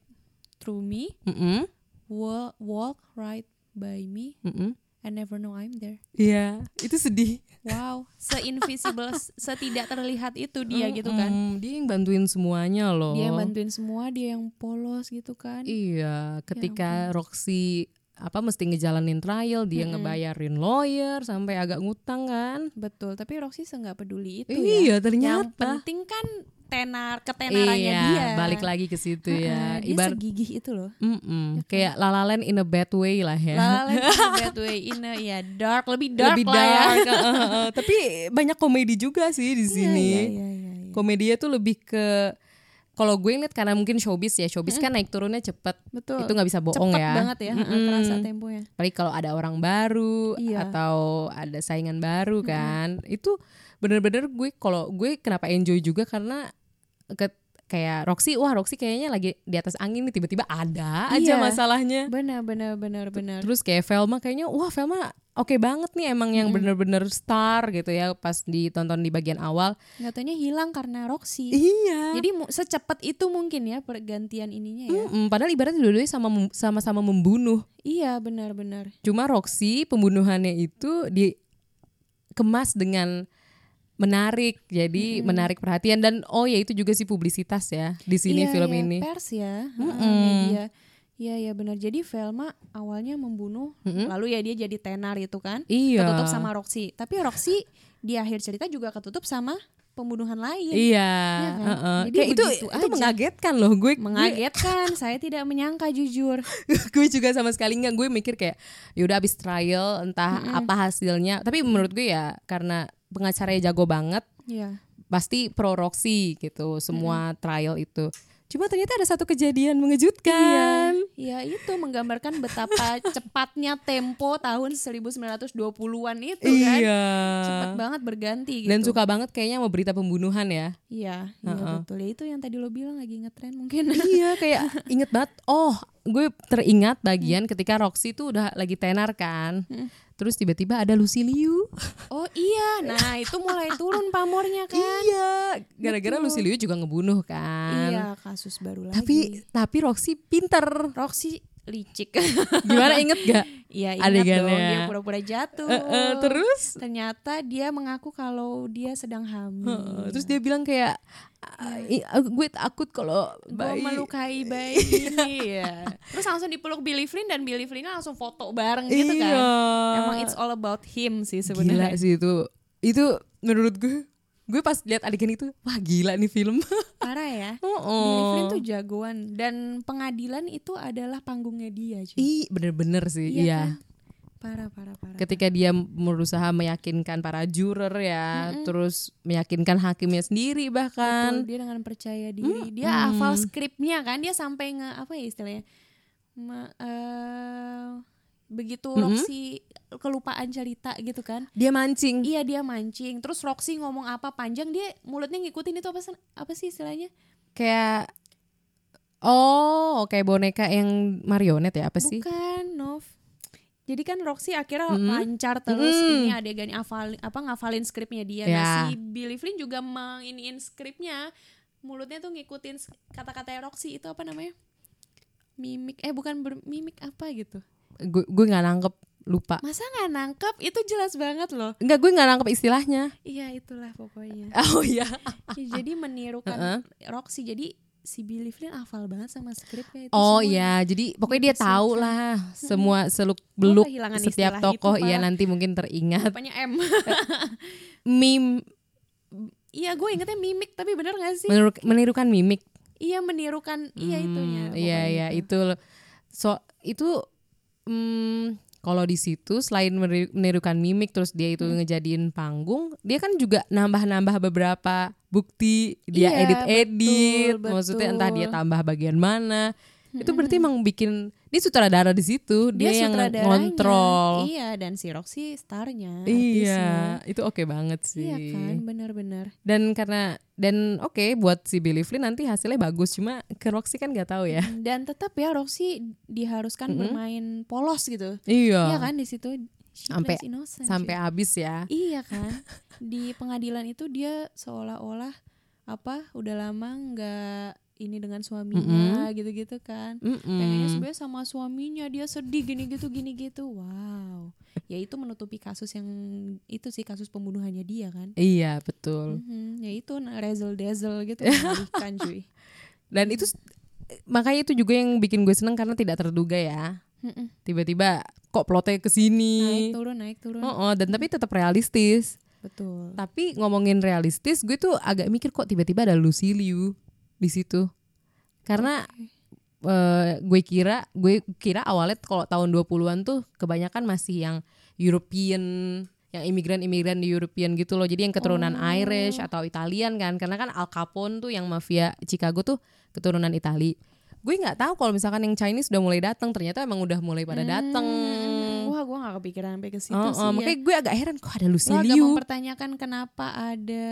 [SPEAKER 7] through me,
[SPEAKER 1] Mm-mm,
[SPEAKER 7] wa- walk right by me,
[SPEAKER 1] mm-mm.
[SPEAKER 7] and never know I'm there.
[SPEAKER 1] Iya, itu sedih.
[SPEAKER 7] Wow, se-invisible, s- setidak terlihat itu dia gitu kan.
[SPEAKER 1] Mm, dia yang bantuin semuanya loh.
[SPEAKER 7] Dia yang bantuin semua, dia yang polos gitu kan.
[SPEAKER 1] Iya,
[SPEAKER 7] Ya
[SPEAKER 1] ketika Roxy apa mesti ngejalanin trial, dia ngebayarin lawyer sampai agak ngutang kan.
[SPEAKER 7] Betul, tapi Roxy se nggak peduli itu
[SPEAKER 1] Iya,
[SPEAKER 7] ya. Yang
[SPEAKER 1] ternyata.
[SPEAKER 7] penting kan tenar ketenarannya
[SPEAKER 1] iya,
[SPEAKER 7] dia.
[SPEAKER 1] balik lagi ke situ
[SPEAKER 7] Heeh,
[SPEAKER 1] ya.
[SPEAKER 7] dia
[SPEAKER 1] Ibar-
[SPEAKER 7] segigih itu loh.
[SPEAKER 1] Mm-mm. Kayak lalalan in a bad way lah ya.
[SPEAKER 7] La La Land is a bad way in a- ya dark lebih dark
[SPEAKER 1] Lebih
[SPEAKER 7] lah ya.
[SPEAKER 1] dark, eh, eh, eh. Tapi banyak komedi juga sih di sini.
[SPEAKER 7] Iya, iya, iya, iya.
[SPEAKER 1] Komedinya tuh lebih ke kalau gue ngeliat karena mungkin showbiz ya, showbiz kan naik turunnya cepet,
[SPEAKER 7] Betul.
[SPEAKER 1] itu nggak bisa bohong
[SPEAKER 7] Cepet
[SPEAKER 1] ya.
[SPEAKER 7] banget ya, heeh, terasa temponya.
[SPEAKER 1] Apalagi kalau ada orang baru
[SPEAKER 7] Iya.
[SPEAKER 1] atau ada saingan baru kan, itu bener-bener gue kalau gue kenapa enjoy juga karena ke- kayak Roxy, wah Roxy kayaknya lagi di atas angin nih tiba-tiba ada aja
[SPEAKER 7] Iya.
[SPEAKER 1] masalahnya.
[SPEAKER 7] Benar, benar, benar, benar.
[SPEAKER 1] Terus kayak Velma kayaknya wah Velma oke banget nih emang yang
[SPEAKER 7] Hmm.
[SPEAKER 1] bener-bener star gitu ya pas ditonton di bagian awal.
[SPEAKER 7] Nggak taunya hilang karena Roxy.
[SPEAKER 1] Iya.
[SPEAKER 7] Jadi mu- secepat itu mungkin ya pergantian ininya ya.
[SPEAKER 1] mm, padahal ibaratnya dua-duanya sama sama-sama membunuh.
[SPEAKER 7] Iya, benar, benar.
[SPEAKER 1] Cuma Roxy pembunuhannya itu dikemas dengan menarik. Jadi
[SPEAKER 7] Hmm.
[SPEAKER 1] menarik perhatian dan oh ya itu juga sih publisitas ya di sini
[SPEAKER 7] Iya,
[SPEAKER 1] film
[SPEAKER 7] iya,
[SPEAKER 1] ini.
[SPEAKER 7] Pers ya, heeh, media. Iya, iya benar. Jadi Velma awalnya membunuh, lalu ya dia jadi tenar itu kan.
[SPEAKER 1] Iya.
[SPEAKER 7] Ketutup sama Roxy. Tapi Roxy di akhir cerita juga ketutup sama pembunuhan
[SPEAKER 1] Iya,
[SPEAKER 7] lain. Iya kan?
[SPEAKER 1] heeh.
[SPEAKER 7] Jadi
[SPEAKER 1] kayak itu itu
[SPEAKER 7] begitu aja.
[SPEAKER 1] mengagetkan loh gue. gue-
[SPEAKER 7] Mengagetkan, saya tidak menyangka jujur.
[SPEAKER 1] gue juga sama sekali nggak gue mikir kayak yaudah abis trial entah apa hasilnya tapi menurut gue ya karena pengacaranya jago banget
[SPEAKER 7] Iya.
[SPEAKER 1] pasti pro Roxy gitu semua trial itu cuma ternyata ada satu kejadian mengejutkan
[SPEAKER 7] Ya itu menggambarkan betapa cepatnya tempo tahun 1920-an
[SPEAKER 1] Iya.
[SPEAKER 7] itu kan. Cepat banget berganti gitu.
[SPEAKER 1] dan suka banget kayaknya sama berita pembunuhan ya
[SPEAKER 7] Iya, iya betul. Ya itu yang tadi lo bilang lagi ngetren mungkin.
[SPEAKER 1] iya kayak inget banget oh gue teringat bagian ketika Roxy tuh udah lagi tenar kan terus tiba-tiba ada Lucy Liu
[SPEAKER 7] oh iya, nah itu mulai turun pamornya kan.
[SPEAKER 1] iya gara-gara Lucy Liu juga ngebunuh kan
[SPEAKER 7] Iya, kasus baru
[SPEAKER 1] tapi
[SPEAKER 7] lagi.
[SPEAKER 1] tapi Roxy pinter
[SPEAKER 7] Roxy licik.
[SPEAKER 1] gimana inget gak
[SPEAKER 7] Iya, ingat dong
[SPEAKER 1] Adegannya.
[SPEAKER 7] dia pura-pura jatuh.
[SPEAKER 1] Eh, eh, terus
[SPEAKER 7] ternyata dia mengaku kalau dia sedang hamil.
[SPEAKER 1] Heeh, terus dia bilang kayak "Ah, i- aku- gue takut kalau
[SPEAKER 7] Gue
[SPEAKER 1] bayi
[SPEAKER 7] melukai bayi ya. Terus langsung dipeluk Billy Flynn dan Billy Flynn langsung foto bareng gitu kan.
[SPEAKER 1] Iya.
[SPEAKER 7] Emang it's all about him sih
[SPEAKER 1] gila
[SPEAKER 7] sebenarnya.
[SPEAKER 1] sih itu itu menurut gue gue pas lihat adegan itu wah gila nih film
[SPEAKER 7] Parah ya.
[SPEAKER 1] Oh.
[SPEAKER 7] Billy Flynn tuh jagoan dan pengadilan itu adalah panggungnya dia cuy.
[SPEAKER 1] Ih, bener-bener sih iya,
[SPEAKER 7] kan? Parah parah parah.
[SPEAKER 1] ketika dia berusaha meyakinkan para juror ya terus meyakinkan hakimnya sendiri
[SPEAKER 7] Betul,
[SPEAKER 1] bahkan
[SPEAKER 7] dia dengan percaya diri, dia hafal skripnya kan, dia sampai nge apa ya istilahnya? Me- eh, begitu Roxy kelupaan cerita gitu kan
[SPEAKER 1] Dia mancing.
[SPEAKER 7] iya dia mancing terus Roxy ngomong apa panjang dia mulutnya ngikutin itu apa sen- apa sih istilahnya
[SPEAKER 1] Kayak Oh, kayak boneka yang marionet ya apa sih?
[SPEAKER 7] bukan Nov jadi kan Roxy akhirnya lancar terus ini adegan hafal apa ngafalin skripnya dia nah
[SPEAKER 1] Ya.
[SPEAKER 7] si Billy Flynn juga menginiin skripnya mulutnya tuh ngikutin sk- kata-kata Roxy itu apa namanya mimik eh bukan ber- mimik apa gitu
[SPEAKER 1] Gue gue nggak nangkep, lupa.
[SPEAKER 7] masa nggak nangkep itu jelas banget loh
[SPEAKER 1] Enggak, gue nggak nangkep istilahnya.
[SPEAKER 7] Iya itulah pokoknya.
[SPEAKER 1] Oh iya.
[SPEAKER 7] Ya, jadi menirukan Roxy. Jadi si Billy Flynn hafal banget sama skripnya itu.
[SPEAKER 1] Oh
[SPEAKER 7] semua.
[SPEAKER 1] iya, jadi pokoknya dia tahu lah semua seluk beluk
[SPEAKER 7] kehilangan istilah
[SPEAKER 1] setiap
[SPEAKER 7] itu,
[SPEAKER 1] tokoh iya
[SPEAKER 7] Pak.
[SPEAKER 1] nanti mungkin teringat.
[SPEAKER 7] Rupanya M.
[SPEAKER 1] Mim
[SPEAKER 7] Iya gue ingetnya mimik tapi bener gak sih?
[SPEAKER 1] meniru- menirukan mimik.
[SPEAKER 7] Iya menirukan iya itunya. gitu.
[SPEAKER 1] Hmm, Iya
[SPEAKER 7] pokoknya
[SPEAKER 1] iya
[SPEAKER 7] itu.
[SPEAKER 1] itu l- so itu hmm, kalau di situ selain meri- menirukan mimik terus dia itu
[SPEAKER 7] Hmm.
[SPEAKER 1] ngejadiin panggung, dia kan juga nambah-nambah beberapa bukti, dia
[SPEAKER 7] Iya,
[SPEAKER 1] edit-edit,
[SPEAKER 7] betul,
[SPEAKER 1] maksudnya entah dia
[SPEAKER 7] betul. Hmm.
[SPEAKER 1] tambah bagian mana. Itu berarti emang bikin dia sutradara di situ, dia, yang
[SPEAKER 7] sutradaranya.
[SPEAKER 1] ngontrol.
[SPEAKER 7] Iya dan si Roxy starnya.
[SPEAKER 1] Iya, itu oke banget
[SPEAKER 7] artisnya.
[SPEAKER 1] sih.
[SPEAKER 7] Iya kan bener-bener.
[SPEAKER 1] Dan karena dan oke buat si Billy Flynn nanti hasilnya bagus cuma ke Roxy kan nggak tahu ya.
[SPEAKER 7] Dan tetap ya Roxy diharuskan bermain polos gitu. Iya
[SPEAKER 1] Iya.
[SPEAKER 7] kan di situ she
[SPEAKER 1] Sampai-
[SPEAKER 7] plays innocent,
[SPEAKER 1] Sampai
[SPEAKER 7] cuy.
[SPEAKER 1] habis ya.
[SPEAKER 7] Iya kan? Di pengadilan itu dia seolah-olah apa udah lama nggak ini dengan suaminya gitu-gitu kan.
[SPEAKER 1] Mm-mm.
[SPEAKER 7] Pengennya sebenarnya sama suaminya dia sedih gini gitu gini gitu. Wow. Ya itu menutupi kasus yang itu sih kasus pembunuhannya dia kan.
[SPEAKER 1] Iya, betul.
[SPEAKER 7] Mhm, ya itu razzle dazzle gitu kan cuy.
[SPEAKER 1] Dan itu s- makanya itu juga yang bikin gue seneng karena tidak terduga ya.
[SPEAKER 7] Mm-mm. Nah,
[SPEAKER 1] Tiba-tiba kok plotnya ke
[SPEAKER 7] Naik
[SPEAKER 1] sini.
[SPEAKER 7] turun naik turun.
[SPEAKER 1] Oh, dan tapi tetap realistis.
[SPEAKER 7] Betul.
[SPEAKER 1] Tapi ngomongin realistis, gue tuh agak mikir kok tiba-tiba ada Lucy Liu di situ. Karena eh, gue kira gue kira awalnya kalau tahun 20-an tuh kebanyakan masih yang European yang imigran-imigran di European gitu loh. Jadi yang keturunan
[SPEAKER 7] Oh.
[SPEAKER 1] Irish atau Italian kan. Karena kan Al Capone tuh yang mafia Chicago tuh keturunan Itali. Gue nggak tahu kalau misalkan yang Chinese udah mulai datang, ternyata emang udah mulai pada datang.
[SPEAKER 7] Hmm, Wah, gua gak kepikiran sampai ke situ
[SPEAKER 1] Oh,
[SPEAKER 7] sih.
[SPEAKER 1] oh,
[SPEAKER 7] ya.
[SPEAKER 1] makanya gue agak heran kok ada Lucy
[SPEAKER 7] Lo agak
[SPEAKER 1] Liu.
[SPEAKER 7] mempertanyakan kenapa ada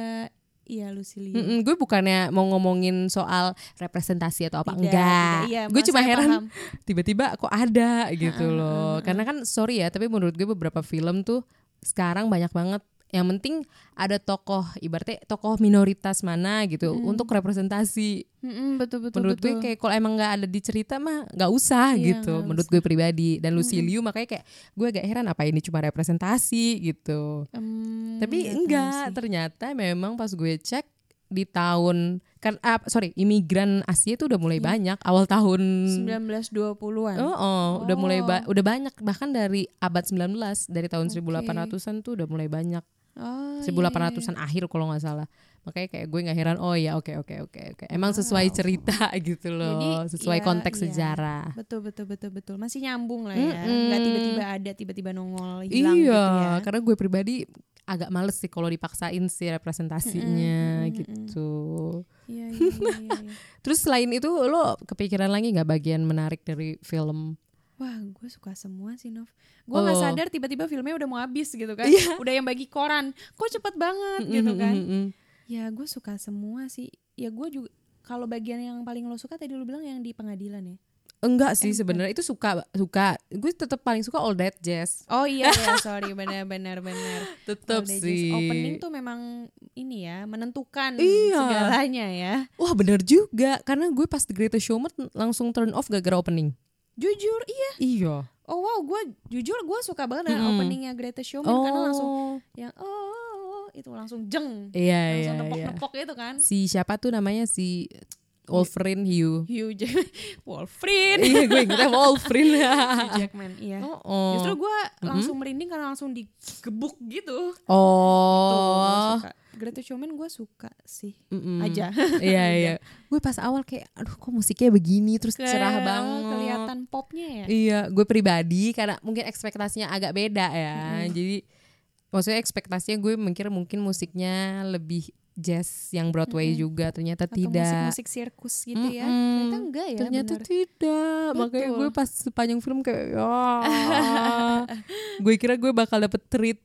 [SPEAKER 7] Iya Lucilia.
[SPEAKER 1] Mm-mm, gue bukannya mau ngomongin soal representasi atau apa
[SPEAKER 7] Tidak,
[SPEAKER 1] enggak.
[SPEAKER 7] tidak. Iya,
[SPEAKER 1] gue
[SPEAKER 7] maksudnya
[SPEAKER 1] cuma heran
[SPEAKER 7] paham.
[SPEAKER 1] tiba-tiba kok ada gitu loh. Karena kan sorry ya, tapi menurut gue beberapa film tuh sekarang banyak banget yang penting ada tokoh ibaratnya tokoh minoritas mana gitu untuk representasi.
[SPEAKER 7] Mm-mm, betul Hmm. betul.
[SPEAKER 1] menurut
[SPEAKER 7] betul.
[SPEAKER 1] gue kayak kalau emang nggak ada di cerita mah nggak usah
[SPEAKER 7] Iya,
[SPEAKER 1] gitu.
[SPEAKER 7] nggak Hmm.
[SPEAKER 1] menurut gue pribadi dan Lucy Liu makanya kayak gue agak heran apa ini cuma representasi gitu.
[SPEAKER 7] Em,
[SPEAKER 1] Tapi
[SPEAKER 7] Hmm, nggak tahu
[SPEAKER 1] enggak,
[SPEAKER 7] sih.
[SPEAKER 1] ternyata memang pas gue cek di tahun kan ah, sorry imigran Asia itu udah mulai
[SPEAKER 7] Iya.
[SPEAKER 1] banyak awal tahun
[SPEAKER 7] 1920-an.
[SPEAKER 1] oh, oh, udah mulai ba-
[SPEAKER 7] Oh.
[SPEAKER 1] udah banyak bahkan dari abad 19 dari tahun 1800-an tuh udah mulai banyak
[SPEAKER 7] Oh, iya,
[SPEAKER 1] 1800-an akhir kalau nggak salah makanya kayak gue nggak heran oh ya oke oke oke oke emang sesuai cerita gitu loh
[SPEAKER 7] Jadi,
[SPEAKER 1] sesuai
[SPEAKER 7] iya,
[SPEAKER 1] konteks
[SPEAKER 7] iya.
[SPEAKER 1] sejarah
[SPEAKER 7] Betul betul betul betul. Masih nyambung lah ya. Enggak tiba-tiba ada, tiba-tiba nongol
[SPEAKER 1] iya
[SPEAKER 7] hilang gitu ya.
[SPEAKER 1] karena gue pribadi agak males sih kalau dipaksain sih representasinya gitu
[SPEAKER 7] Iya, iya, iya, iya, iya.
[SPEAKER 1] Terus selain itu lo kepikiran lagi nggak bagian menarik dari film?
[SPEAKER 7] Wah, gue suka semua sih, Nov. Gue nggak
[SPEAKER 1] Oh. Iya.
[SPEAKER 7] sadar tiba-tiba filmnya udah mau habis gitu kan. Udah yang bagi koran. Kok cepet banget gitu kan. Ya, gue suka semua sih. Ya, gue juga kalau bagian yang paling lo suka tadi lo bilang yang di pengadilan ya.
[SPEAKER 1] Enggak sih sebenarnya itu suka suka. Gue tetap paling suka All That Jazz.
[SPEAKER 7] Oh iya ya, sorry benar benar benar.
[SPEAKER 1] Tetep
[SPEAKER 7] All Day Jazz.
[SPEAKER 1] sih.
[SPEAKER 7] Opening tuh memang ini ya, menentukan
[SPEAKER 1] Iya.
[SPEAKER 7] segalanya ya.
[SPEAKER 1] Wah bener juga karena gue pas The Greatest Showman langsung turn off gara-gara opening.
[SPEAKER 7] Jujur iya.
[SPEAKER 1] Iya.
[SPEAKER 7] Oh wow, gue jujur gue suka banget dengan openingnya Greatest Showman karena langsung yang oh, oh, oh, itu langsung jeng.
[SPEAKER 1] Iya iya
[SPEAKER 7] langsung
[SPEAKER 1] iya.
[SPEAKER 7] nepok-nepok gitu kan.
[SPEAKER 1] Si siapa tuh namanya si Wolverine Hugh.
[SPEAKER 7] Hugh Jack- Wolverine,
[SPEAKER 1] iya gue ingetnya Wolverine.
[SPEAKER 7] Hugh Jackman, iya.
[SPEAKER 1] oh, oh.
[SPEAKER 7] Justru gue langsung merinding karena langsung digebuk gitu.
[SPEAKER 1] oh. Mm,
[SPEAKER 7] Greatest Showman gue suka sih aja.
[SPEAKER 1] iya iya. Gue pas awal kayak aduh kok musiknya begini terus cerah
[SPEAKER 7] Kayak
[SPEAKER 1] banget.
[SPEAKER 7] kelihatan popnya ya.
[SPEAKER 1] Iya, gue pribadi karena mungkin ekspektasinya agak beda ya. Jadi maksudnya ekspektasinya gue mikir mungkin musiknya lebih jazz yang Broadway juga ternyata
[SPEAKER 7] atau
[SPEAKER 1] tidak.
[SPEAKER 7] musik-musik sirkus gitu ya
[SPEAKER 1] Mm-mm.
[SPEAKER 7] ternyata enggak ya
[SPEAKER 1] ternyata
[SPEAKER 7] benar.
[SPEAKER 1] tidak. Makanya
[SPEAKER 7] Betul.
[SPEAKER 1] gue pas sepanjang film kayak ya. gue kira gue bakal dapet treat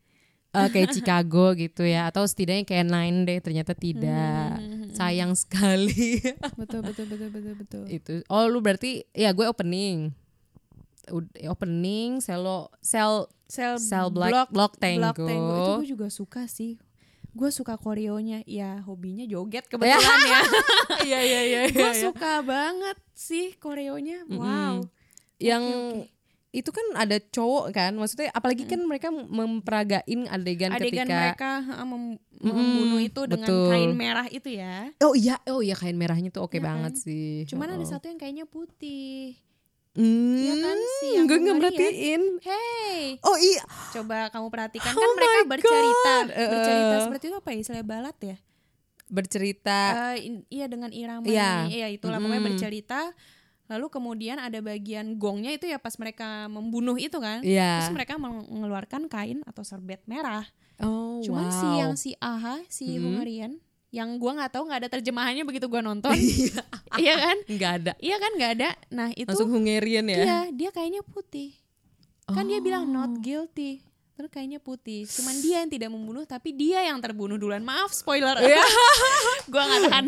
[SPEAKER 1] eh, kayak Chicago gitu ya atau setidaknya kayak Nine deh ternyata tidak. Sayang sekali.
[SPEAKER 7] betul betul betul betul betul
[SPEAKER 1] itu. Oh, lu berarti ya gue opening. Ud- eh, opening, selo, sel
[SPEAKER 7] sel,
[SPEAKER 1] Sel Black- Block Tango.
[SPEAKER 7] itu gue juga suka sih gue suka koreonya ya hobinya joget kebetulan ya
[SPEAKER 1] Iya iya iya.
[SPEAKER 7] gue suka banget sih koreonya wow
[SPEAKER 1] yang itu kan ada cowok kan maksudnya apalagi kan mereka memperagain adegan,
[SPEAKER 7] adegan
[SPEAKER 1] ketika
[SPEAKER 7] mereka ha, mem- membunuh itu dengan
[SPEAKER 1] betul.
[SPEAKER 7] kain merah itu ya
[SPEAKER 1] oh iya oh iya kain merahnya tuh oke
[SPEAKER 7] Ya
[SPEAKER 1] banget
[SPEAKER 7] kan?
[SPEAKER 1] sih
[SPEAKER 7] cuman ada satu yang kayaknya putih
[SPEAKER 1] hmm,
[SPEAKER 7] Iya kan sih, yang
[SPEAKER 1] gue
[SPEAKER 7] gue
[SPEAKER 1] nggak
[SPEAKER 7] ngeliat.
[SPEAKER 1] merhatiin
[SPEAKER 7] hey
[SPEAKER 1] oh iya
[SPEAKER 7] coba kamu perhatikan
[SPEAKER 1] Oh
[SPEAKER 7] kan mereka
[SPEAKER 1] my
[SPEAKER 7] bercerita
[SPEAKER 1] God. Eh,
[SPEAKER 7] bercerita
[SPEAKER 1] eh.
[SPEAKER 7] seperti itu apa ya istilah balat ya
[SPEAKER 1] bercerita
[SPEAKER 7] Eh, in- iya dengan irama
[SPEAKER 1] Iya.
[SPEAKER 7] iya itulah pokoknya
[SPEAKER 1] Mm-mm.
[SPEAKER 7] bercerita lalu kemudian ada bagian gongnya itu ya pas mereka membunuh itu kan
[SPEAKER 1] Iya.
[SPEAKER 7] terus mereka meng- mengeluarkan kain atau serbet merah
[SPEAKER 1] oh
[SPEAKER 7] cuman si
[SPEAKER 1] wow.
[SPEAKER 7] yang si aha si Hungarian yang gua nggak tahu nggak ada terjemahannya begitu gua nonton iya kan
[SPEAKER 1] nggak ada
[SPEAKER 7] iya kan nggak ada nah itu
[SPEAKER 1] langsung Hungarian ya Oh.
[SPEAKER 7] iya dia kayaknya putih kan dia bilang not guilty terus kayaknya putih cuman dia yang tidak membunuh tapi dia yang terbunuh duluan maaf spoiler
[SPEAKER 1] Iya.
[SPEAKER 7] gua nggak tahan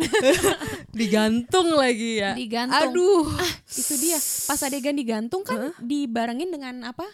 [SPEAKER 1] digantung lagi ya
[SPEAKER 7] digantung.
[SPEAKER 1] aduh
[SPEAKER 7] Ah, itu dia. Pas adegan digantung kan dibarengin dengan apa?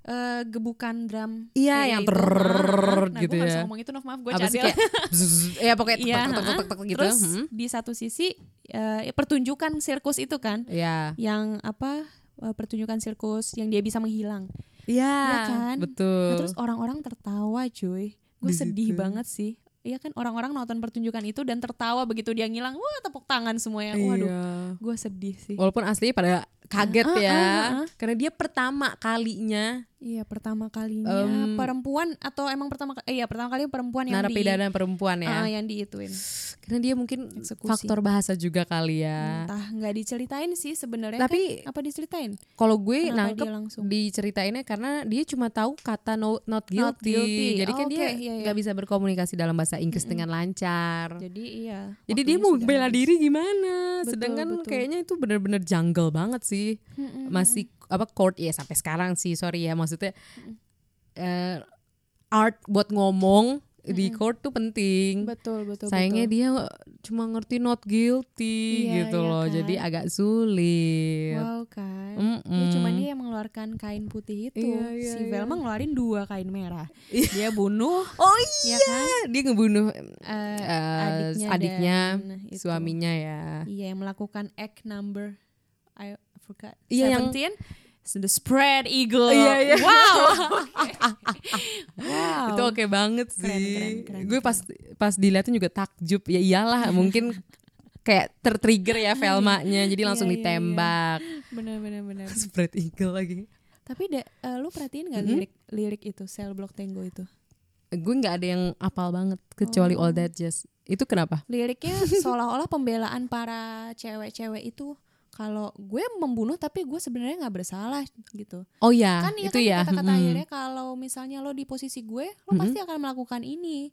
[SPEAKER 7] eh, gebukan drum.
[SPEAKER 1] Iya, yang
[SPEAKER 7] itu.
[SPEAKER 1] trrrr
[SPEAKER 7] nah,
[SPEAKER 1] gitu
[SPEAKER 7] gua harus
[SPEAKER 1] ya.
[SPEAKER 7] ngomong itu, Nof, maaf gue
[SPEAKER 1] apa sih
[SPEAKER 7] cadel.
[SPEAKER 1] kayak zzz, ya pokoknya tek,
[SPEAKER 7] Iya,
[SPEAKER 1] tek, tek,
[SPEAKER 7] heeh.
[SPEAKER 1] tek, tek, tek, gitu
[SPEAKER 7] Terus
[SPEAKER 1] Hmm.
[SPEAKER 7] di satu sisi eh, pertunjukan sirkus itu kan,
[SPEAKER 1] ya
[SPEAKER 7] yang apa? eh, pertunjukan sirkus yang dia bisa menghilang,
[SPEAKER 1] ya
[SPEAKER 7] Iya kan?
[SPEAKER 1] betul
[SPEAKER 7] Nah, terus orang-orang tertawa, cuy. Gue
[SPEAKER 1] Di
[SPEAKER 7] sedih
[SPEAKER 1] situ.
[SPEAKER 7] banget sih. Iya kan orang-orang nonton pertunjukan itu dan tertawa begitu dia ngilang, wah tepuk tangan semuanya. Waduh,
[SPEAKER 1] Iya.
[SPEAKER 7] gue sedih sih.
[SPEAKER 1] Walaupun aslinya pada kaget
[SPEAKER 7] Ah, ah,
[SPEAKER 1] ya,
[SPEAKER 7] ah, ah.
[SPEAKER 1] karena dia pertama kalinya
[SPEAKER 7] Iya pertama kalinya
[SPEAKER 1] Em,
[SPEAKER 7] perempuan atau emang pertama kali iya pertama kali perempuan yang di
[SPEAKER 1] narapidana perempuan ya.
[SPEAKER 7] Ah, yang diituin
[SPEAKER 1] Karena dia mungkin
[SPEAKER 7] Eksekusi. Hmm.
[SPEAKER 1] faktor bahasa juga kali ya.
[SPEAKER 7] entah nggak diceritain sih sebenarnya
[SPEAKER 1] Tapi-
[SPEAKER 7] kan? apa diceritain
[SPEAKER 1] Kalau gue
[SPEAKER 7] Kenapa
[SPEAKER 1] nangkep
[SPEAKER 7] dia langsung?
[SPEAKER 1] diceritainnya karena dia cuma tahu kata no- not, guilty.
[SPEAKER 7] guilty.
[SPEAKER 1] Jadi
[SPEAKER 7] Oh,
[SPEAKER 1] kan dia
[SPEAKER 7] oke, iya, iya.
[SPEAKER 1] nggak bisa berkomunikasi dalam bahasa Inggris dengan lancar.
[SPEAKER 7] jadi iya
[SPEAKER 1] Jadi
[SPEAKER 7] waktunya
[SPEAKER 1] dia mau
[SPEAKER 7] sudah
[SPEAKER 1] bela
[SPEAKER 7] habis.
[SPEAKER 1] diri gimana?
[SPEAKER 7] Betul,
[SPEAKER 1] Sedangkan
[SPEAKER 7] betul.
[SPEAKER 1] kayaknya itu bener-bener jungle banget sih. Masih apa court ya sampai sekarang sih, sorry ya maksudnya eh, art buat ngomong di court tuh penting.
[SPEAKER 7] betul betul
[SPEAKER 1] Sayangnya
[SPEAKER 7] betul.
[SPEAKER 1] dia cuma ngerti not guilty
[SPEAKER 7] Iya,
[SPEAKER 1] gitu
[SPEAKER 7] iya
[SPEAKER 1] loh.
[SPEAKER 7] kan.
[SPEAKER 1] Jadi agak sulit.
[SPEAKER 7] wow kan
[SPEAKER 1] Mm-mm.
[SPEAKER 7] Ya, cuman dia yang mengeluarkan kain putih itu
[SPEAKER 1] Iya, iya,
[SPEAKER 7] si
[SPEAKER 1] iya.
[SPEAKER 7] Velma ngeluarin dua kain merah dia bunuh
[SPEAKER 1] Oh
[SPEAKER 7] iya kan
[SPEAKER 1] Dia ngebunuh
[SPEAKER 7] Eh,
[SPEAKER 1] eh, adiknya,
[SPEAKER 7] dan itu.
[SPEAKER 1] suaminya ya.
[SPEAKER 7] Iya yang melakukan act number I forgot
[SPEAKER 1] Iya, yang-
[SPEAKER 7] 17 the spread eagle.
[SPEAKER 1] Iya, iya.
[SPEAKER 7] Wow. wow.
[SPEAKER 1] Itu oke banget sih.
[SPEAKER 7] Iya. Keren, keren, keren, Iya.
[SPEAKER 1] gue pas pas dilihatin juga takjub. Ya iyalah, mungkin kayak tertrigger ya Velmanya jadi langsung
[SPEAKER 7] Iya, iya, iya.
[SPEAKER 1] ditembak.
[SPEAKER 7] Benar benar benar.
[SPEAKER 1] Spread eagle lagi.
[SPEAKER 7] Tapi da, eh, lu perhatiin nggak lirik lirik itu Cell Block Tango itu?
[SPEAKER 1] Gue nggak ada yang apal banget kecuali
[SPEAKER 7] Oh.
[SPEAKER 1] All That Jazz. Itu kenapa?
[SPEAKER 7] Liriknya seolah-olah pembelaan para cewek-cewek itu kalau gue membunuh tapi gue sebenarnya nggak bersalah gitu.
[SPEAKER 1] Oh ya,
[SPEAKER 7] kan iya
[SPEAKER 1] itu
[SPEAKER 7] kan
[SPEAKER 1] ya.
[SPEAKER 7] kata-kata
[SPEAKER 1] mm-mm.
[SPEAKER 7] akhirnya kalau misalnya lo di posisi gue lo pasti akan melakukan ini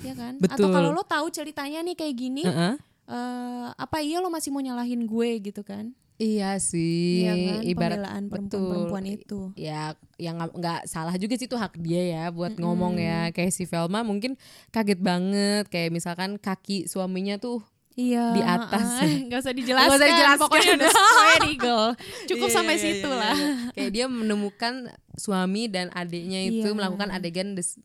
[SPEAKER 7] ya kan atau
[SPEAKER 1] Betul.
[SPEAKER 7] kalau lo tahu ceritanya nih kayak gini
[SPEAKER 1] Heeh.
[SPEAKER 7] eh, apa iya lo masih mau nyalahin gue gitu kan
[SPEAKER 1] Iya sih,
[SPEAKER 7] Iya kan,
[SPEAKER 1] ibarat
[SPEAKER 7] pembelaan
[SPEAKER 1] betul.
[SPEAKER 7] perempuan-perempuan itu.
[SPEAKER 1] Ya, yang nggak- nggak salah juga sih itu hak dia ya buat ngomong ya. Kayak si Velma mungkin kaget banget, kayak misalkan kaki suaminya tuh
[SPEAKER 7] iya
[SPEAKER 1] Di atas.
[SPEAKER 7] heeh. nggak usah dijelaskan
[SPEAKER 1] Nggak usah dijelaskan.
[SPEAKER 7] pokoknya udah square eagle cukup
[SPEAKER 1] Iya,
[SPEAKER 7] sampai
[SPEAKER 1] iya,
[SPEAKER 7] situ
[SPEAKER 1] iya,
[SPEAKER 7] lah
[SPEAKER 1] iya. Kayak dia menemukan suami dan adiknya itu
[SPEAKER 7] Iya.
[SPEAKER 1] melakukan adegan des,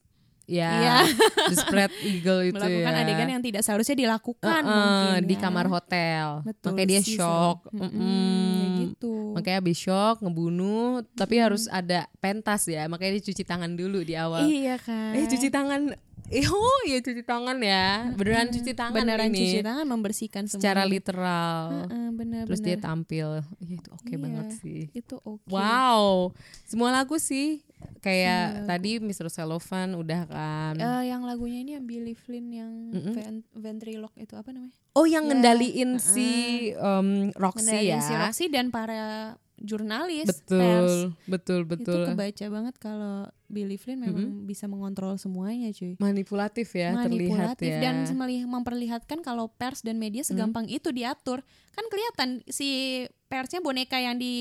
[SPEAKER 1] ya,
[SPEAKER 7] Iya.
[SPEAKER 1] the spread eagle itu
[SPEAKER 7] melakukan
[SPEAKER 1] ya.
[SPEAKER 7] adegan yang tidak seharusnya dilakukan
[SPEAKER 1] Eh, eh,
[SPEAKER 7] mungkin
[SPEAKER 1] di
[SPEAKER 7] ya.
[SPEAKER 1] kamar hotel.
[SPEAKER 7] Betul,
[SPEAKER 1] Makanya dia
[SPEAKER 7] sih,
[SPEAKER 1] shock.
[SPEAKER 7] Sel. Mm-mm,
[SPEAKER 1] Mm-mm.
[SPEAKER 7] ya gitu
[SPEAKER 1] Makanya habis shock, ngebunuh, tapi harus ada pentas ya. Makanya dia cuci tangan dulu di awal.
[SPEAKER 7] iya kan
[SPEAKER 1] Eh cuci tangan. Eh, oh iya cuci tangan ya. Beneran cuci tangan
[SPEAKER 7] beneran
[SPEAKER 1] ini.
[SPEAKER 7] cuci tangan membersihkan
[SPEAKER 1] Secara
[SPEAKER 7] semuanya. Eh,
[SPEAKER 1] literal.
[SPEAKER 7] Heeh, benar
[SPEAKER 1] Terus dia
[SPEAKER 7] benar.
[SPEAKER 1] tampil. Iya, itu oke
[SPEAKER 7] Iya,
[SPEAKER 1] banget sih.
[SPEAKER 7] Itu oke.
[SPEAKER 1] Wow. Semua lagu sih kayak tadi Mr. Cellophane udah kan.
[SPEAKER 7] Eh, yang lagunya ini yang Billy Flynn yang
[SPEAKER 1] Mm-mm.
[SPEAKER 7] ven- ventriloque itu apa namanya?
[SPEAKER 1] oh, yang
[SPEAKER 7] ya,
[SPEAKER 1] ngendaliin si em, Roxy
[SPEAKER 7] Ngendaliin
[SPEAKER 1] ya.
[SPEAKER 7] si Roxy dan para jurnalis
[SPEAKER 1] betul,
[SPEAKER 7] pers
[SPEAKER 1] betul, betul.
[SPEAKER 7] itu kebaca banget kalau Billy Flynn memang bisa mengontrol semuanya cuy
[SPEAKER 1] Manipulatif ya, terlihat
[SPEAKER 7] manipulatif
[SPEAKER 1] ya. Hmm.
[SPEAKER 7] dan melih- memperlihatkan kalau pers dan media segampang itu diatur kan kelihatan si persnya boneka yang di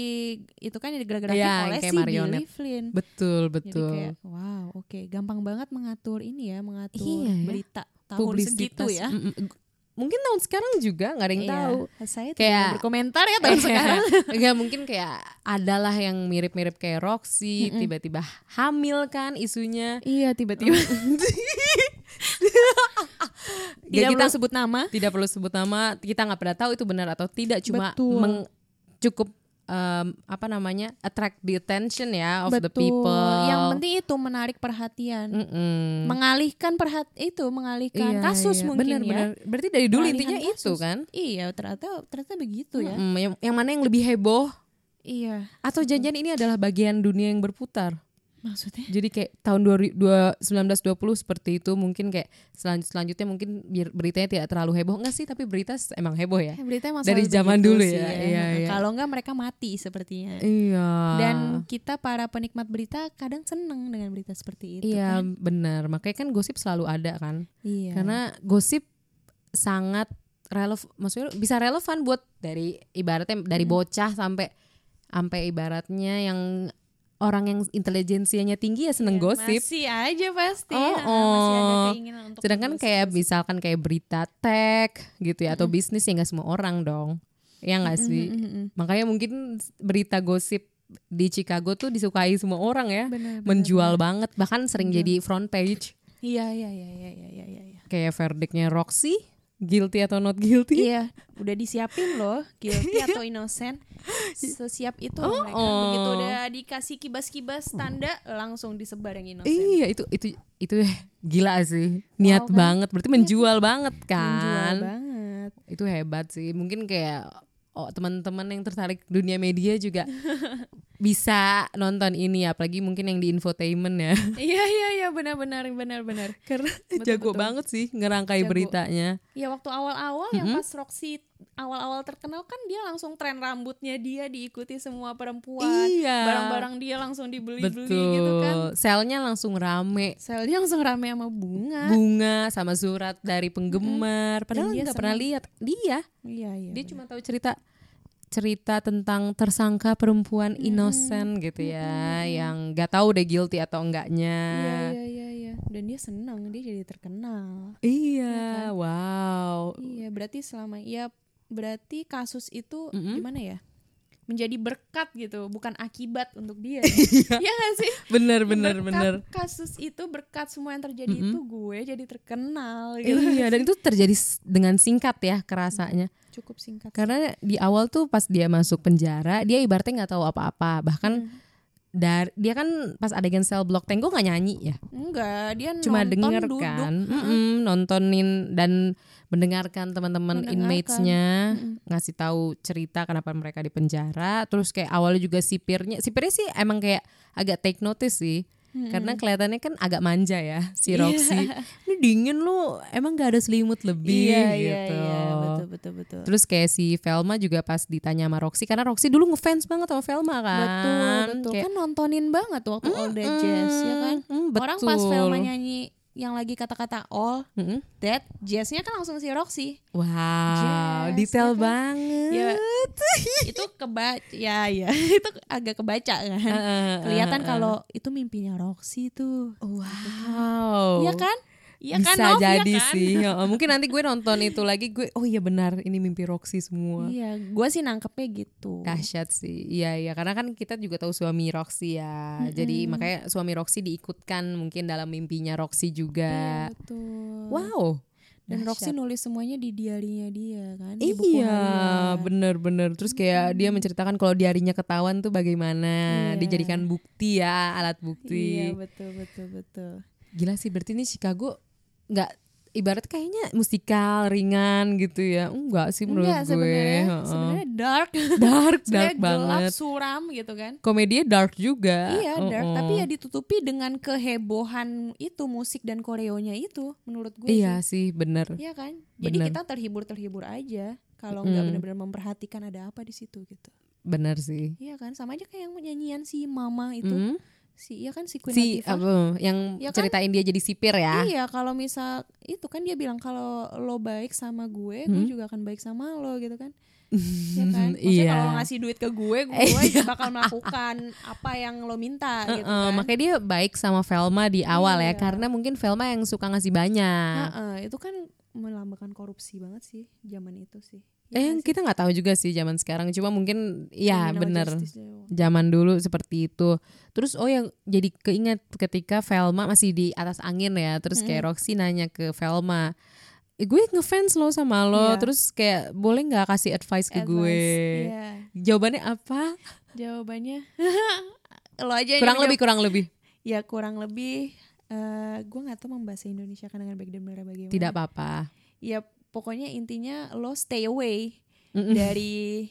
[SPEAKER 7] itu kan yang digerak-gerakin
[SPEAKER 1] Iya, yang
[SPEAKER 7] oleh
[SPEAKER 1] kayak
[SPEAKER 7] si Billy
[SPEAKER 1] marionet.
[SPEAKER 7] Flynn
[SPEAKER 1] betul,
[SPEAKER 7] jadi
[SPEAKER 1] betul.
[SPEAKER 7] kayak wow oke gampang banget mengatur ini ya mengatur
[SPEAKER 1] Iya ya.
[SPEAKER 7] berita tahun segitu
[SPEAKER 1] Publisitas.
[SPEAKER 7] ya
[SPEAKER 1] Mm, mm. Mungkin tahun sekarang juga nggak ada yang
[SPEAKER 7] Iya.
[SPEAKER 1] tahu.
[SPEAKER 7] saya tidak
[SPEAKER 1] Kayak-
[SPEAKER 7] berkomentar ya tahun sekarang
[SPEAKER 1] Enggak mungkin kayak adalah yang mirip-mirip kayak Roxy tiba-tiba hamil kan isunya.
[SPEAKER 7] iya
[SPEAKER 1] Ya,
[SPEAKER 7] tiba-tiba
[SPEAKER 1] kita
[SPEAKER 7] tidak perlu sebut nama
[SPEAKER 1] tidak perlu sebut nama, kita nggak pernah tahu itu benar atau tidak cuma
[SPEAKER 7] Betul.
[SPEAKER 1] meng- cukup em, apa namanya? attract the attention ya of the
[SPEAKER 7] betul
[SPEAKER 1] people.
[SPEAKER 7] yang penting itu menarik perhatian
[SPEAKER 1] Mm-mm.
[SPEAKER 7] mengalihkan perhat itu mengalihkan
[SPEAKER 1] Iya,
[SPEAKER 7] Kan kasus
[SPEAKER 1] iya.
[SPEAKER 7] mungkin
[SPEAKER 1] Benar,
[SPEAKER 7] ya
[SPEAKER 1] benar. Berarti dari dulu
[SPEAKER 7] Peralihan
[SPEAKER 1] intinya itu
[SPEAKER 7] kasus.
[SPEAKER 1] kan.
[SPEAKER 7] iya ternyata ternyata begitu ya
[SPEAKER 1] Mm, yang, yang mana yang lebih heboh
[SPEAKER 7] iya
[SPEAKER 1] atau janjian ini adalah bagian dunia yang berputar.
[SPEAKER 7] maksudnya
[SPEAKER 1] Jadi kayak tahun 2000 dua- 1920 seperti itu mungkin kayak selanjut selanjutnya mungkin biar beritanya tidak terlalu heboh enggak sih tapi berita s- emang heboh ya.
[SPEAKER 7] Eh, berita emang
[SPEAKER 1] Dari
[SPEAKER 7] selalu
[SPEAKER 1] zaman
[SPEAKER 7] begitu
[SPEAKER 1] dulu
[SPEAKER 7] sih
[SPEAKER 1] ya, iya,
[SPEAKER 7] Nah,
[SPEAKER 1] iya.
[SPEAKER 7] kalau enggak mereka mati sepertinya
[SPEAKER 1] Iya.
[SPEAKER 7] dan kita para penikmat berita kadang seneng dengan berita seperti itu
[SPEAKER 1] iya
[SPEAKER 7] kan?
[SPEAKER 1] benar makanya kan gosip selalu ada kan
[SPEAKER 7] iya
[SPEAKER 1] karena gosip sangat relevan maksudnya bisa relevan buat dari ibaratnya
[SPEAKER 7] Hmm.
[SPEAKER 1] dari bocah sampai sampai ibaratnya yang orang yang intelijensianya tinggi ya
[SPEAKER 7] Iya,
[SPEAKER 1] seneng gosip
[SPEAKER 7] masih aja pasti
[SPEAKER 1] Oh,
[SPEAKER 7] nah, masih ada
[SPEAKER 1] oh.
[SPEAKER 7] keinginan untuk
[SPEAKER 1] Sedangkan
[SPEAKER 7] menggosip.
[SPEAKER 1] kayak misalkan kayak berita tech gitu ya atau bisnis ya nggak semua orang dong. Ya nggak sih? Makanya mungkin berita gosip di Chicago tuh disukai semua orang ya.
[SPEAKER 7] Benar, benar,
[SPEAKER 1] Menjual banget bahkan sering jadi front page
[SPEAKER 7] iya iya iya iya iya iya iya
[SPEAKER 1] kayak verdictnya Roxy guilty atau not guilty.
[SPEAKER 7] Iya, udah disiapin loh, guilty
[SPEAKER 1] Iya.
[SPEAKER 7] atau innocent. Sesiap itu mereka
[SPEAKER 1] oh.
[SPEAKER 7] begitu udah dikasih kibas-kibas tanda langsung disebar yang innocent.
[SPEAKER 1] Iya, itu itu itu gila sih. Niat banget, berarti menjual banget kan.
[SPEAKER 7] Iya Menjual banget.
[SPEAKER 1] itu hebat sih mungkin kayak oh teman-teman yang tertarik dunia media juga bisa nonton ini apalagi mungkin yang di infotainment ya
[SPEAKER 7] Iya iya iya benar-benar benar-benar. Karena
[SPEAKER 1] jago banget sih ngerangkai
[SPEAKER 7] Jago.
[SPEAKER 1] beritanya
[SPEAKER 7] Ya waktu awal-awal yang
[SPEAKER 1] Mm-hmm.
[SPEAKER 7] pas Roxy awal-awal terkenal kan dia langsung tren rambutnya dia diikuti semua perempuan.
[SPEAKER 1] Iya.
[SPEAKER 7] Barang-barang dia langsung dibeli-beli
[SPEAKER 1] betul
[SPEAKER 7] gitu kan.
[SPEAKER 1] selnya langsung rame
[SPEAKER 7] Sel dia langsung rame sama bunga.
[SPEAKER 1] bunga sama surat dari penggemar padahal
[SPEAKER 7] dia
[SPEAKER 1] nggak pernah lihat dia
[SPEAKER 7] Iya iya.
[SPEAKER 1] dia cuma tahu cerita cerita tentang tersangka perempuan innocent gitu ya yang nggak tahu deh guilty atau enggaknya
[SPEAKER 7] Iya iya iya iya. Dan dia senang dia jadi terkenal. kan?
[SPEAKER 1] Iya, wow.
[SPEAKER 7] Iya, berarti selama ya berarti kasus itu
[SPEAKER 1] Mm-hmm.
[SPEAKER 7] gimana ya? Menjadi berkat gitu, bukan akibat untuk dia. Iya gak sih?
[SPEAKER 1] Bener, bener,
[SPEAKER 7] Berkat
[SPEAKER 1] bener.
[SPEAKER 7] Kasus itu berkat semua yang terjadi itu gue jadi terkenal gitu.
[SPEAKER 1] Iya, dan itu terjadi s- dengan singkat ya kerasanya.
[SPEAKER 7] Cukup singkat.
[SPEAKER 1] Karena di awal tuh pas dia masuk penjara, dia ibaratnya nggak tahu apa-apa. Bahkan dari dia kan pas adegan sel blok tank, gue nggak nyanyi ya.
[SPEAKER 7] Enggak, dia
[SPEAKER 1] Cuma
[SPEAKER 7] nonton
[SPEAKER 1] denger
[SPEAKER 7] duduk.
[SPEAKER 1] kan, Mm-mm, nontonin dan mendengarkan teman-teman
[SPEAKER 7] Mendengarkan.
[SPEAKER 1] inmates-nya ngasih tahu cerita kenapa mereka di penjara. Terus kayak awalnya juga sipirnya, sipirnya sih emang kayak agak take notice sih. Karena kelihatannya kan agak manja ya si
[SPEAKER 7] Iya.
[SPEAKER 1] Roxy. Ini dingin lu, emang gak ada selimut lebih
[SPEAKER 7] Iya,
[SPEAKER 1] gitu.
[SPEAKER 7] iya, iya, betul betul betul.
[SPEAKER 1] Terus kayak si Velma juga pas ditanya sama Roxy karena Roxy dulu ngefans banget sama Velma kan.
[SPEAKER 7] Betul, betul.
[SPEAKER 1] Kayak,
[SPEAKER 7] kan nontonin banget waktu All That Jazz ya kan.
[SPEAKER 1] mm,
[SPEAKER 7] Orang pas
[SPEAKER 1] betul.
[SPEAKER 7] Velma nyanyi yang lagi kata-kata All
[SPEAKER 1] Mm-mm.
[SPEAKER 7] That Jazznya kan langsung si Roxy.
[SPEAKER 1] Wow,
[SPEAKER 7] Jazz,
[SPEAKER 1] detail
[SPEAKER 7] ya kan?
[SPEAKER 1] banget.
[SPEAKER 7] Ya, itu kebaca ya ya itu agak kebaca kan kelihatan kalau itu mimpinya Roxy tuh
[SPEAKER 1] Wow.
[SPEAKER 7] Iya kan Iya
[SPEAKER 1] Bisa
[SPEAKER 7] kan Nov? Iya
[SPEAKER 1] jadi
[SPEAKER 7] kan?
[SPEAKER 1] sih. Ya, mungkin nanti gue nonton itu lagi gue oh iya benar ini mimpi Roxy semua.
[SPEAKER 7] iya gue sih nangkepnya gitu
[SPEAKER 1] Dahsyat sih. Iya iya karena kan kita juga tahu suami Roxy ya. Jadi makanya suami Roxy diikutkan mungkin dalam mimpinya Roxy juga.
[SPEAKER 7] betul
[SPEAKER 1] Wow.
[SPEAKER 7] dan Roxy
[SPEAKER 1] Dahsyat.
[SPEAKER 7] nulis semuanya di diarinya dia kan di buku
[SPEAKER 1] Iya,
[SPEAKER 7] harian.
[SPEAKER 1] bener-bener. Terus kayak dia menceritakan kalau diarinya ketahuan tuh bagaimana
[SPEAKER 7] Iya.
[SPEAKER 1] dijadikan bukti ya, alat bukti.
[SPEAKER 7] iya betul betul betul
[SPEAKER 1] Gila sih berarti ini Chicago nggak ibarat kayaknya musikal ringan gitu ya. Enggak sih menurut
[SPEAKER 7] enggak
[SPEAKER 1] gue.
[SPEAKER 7] sebenarnya
[SPEAKER 1] Heeh.
[SPEAKER 7] sebenarnya dark
[SPEAKER 1] Dark, dark
[SPEAKER 7] Sebenarnya gelap
[SPEAKER 1] banget.
[SPEAKER 7] suram gitu kan
[SPEAKER 1] Komedinya dark juga.
[SPEAKER 7] Iya, dark.
[SPEAKER 1] Heeh.
[SPEAKER 7] Tapi ya ditutupi dengan kehebohan itu musik dan koreonya itu, menurut gue.
[SPEAKER 1] Iya sih,
[SPEAKER 7] sih.
[SPEAKER 1] bener.
[SPEAKER 7] Iya kan? Jadi
[SPEAKER 1] Bener.
[SPEAKER 7] kita terhibur-terhibur aja kalau nggak benar-benar memperhatikan ada apa di situ gitu.
[SPEAKER 1] benar sih.
[SPEAKER 7] Iya kan, sama aja kayak yang nyanyian si Mama itu.
[SPEAKER 1] Mm.
[SPEAKER 7] Si iya kan si Queen
[SPEAKER 1] Si
[SPEAKER 7] Latifah.
[SPEAKER 1] apa yang
[SPEAKER 7] Ya kan?
[SPEAKER 1] ceritain dia jadi sipir ya.
[SPEAKER 7] Iya, kalau misal itu kan dia bilang kalau lo baik sama
[SPEAKER 1] Hmm?
[SPEAKER 7] gue, gue juga akan baik sama lo gitu kan. Iya kan? Maksudnya
[SPEAKER 1] Iya.
[SPEAKER 7] kalau lo ngasih duit ke gue, gue bakal melakukan apa yang lo minta gitu
[SPEAKER 1] Eh,
[SPEAKER 7] kan.
[SPEAKER 1] makanya dia baik sama Velma di awal ya
[SPEAKER 7] Iya.
[SPEAKER 1] karena mungkin Velma yang suka ngasih banyak.
[SPEAKER 7] Heeh, itu kan melambangkan korupsi banget sih zaman itu sih.
[SPEAKER 1] Eh
[SPEAKER 7] Ya kan sih? Iya,
[SPEAKER 1] kita nggak tahu juga sih zaman sekarang cuma mungkin ya
[SPEAKER 7] Criminal
[SPEAKER 1] bener
[SPEAKER 7] justice dia.
[SPEAKER 1] zaman dulu seperti itu. Terus oh yang jadi keinget ketika Velma masih di atas angin ya terus
[SPEAKER 7] Hmm.
[SPEAKER 1] kayak Roxy nanya ke Velma "Eh, gue ngefans lo sama lo
[SPEAKER 7] Iya.
[SPEAKER 1] terus kayak boleh nggak kasih advice ke
[SPEAKER 7] Advice,
[SPEAKER 1] gue
[SPEAKER 7] iya.
[SPEAKER 1] jawabannya apa
[SPEAKER 7] Jawabannya lo aja yang
[SPEAKER 1] kurang
[SPEAKER 7] jawab.
[SPEAKER 1] lebih kurang lebih
[SPEAKER 7] ya kurang lebih eh gue nggak tahu membahasa Indonesia kan dengan baik dan benar bagaimana.
[SPEAKER 1] tidak apa-apa
[SPEAKER 7] ya pokoknya intinya lo stay away dari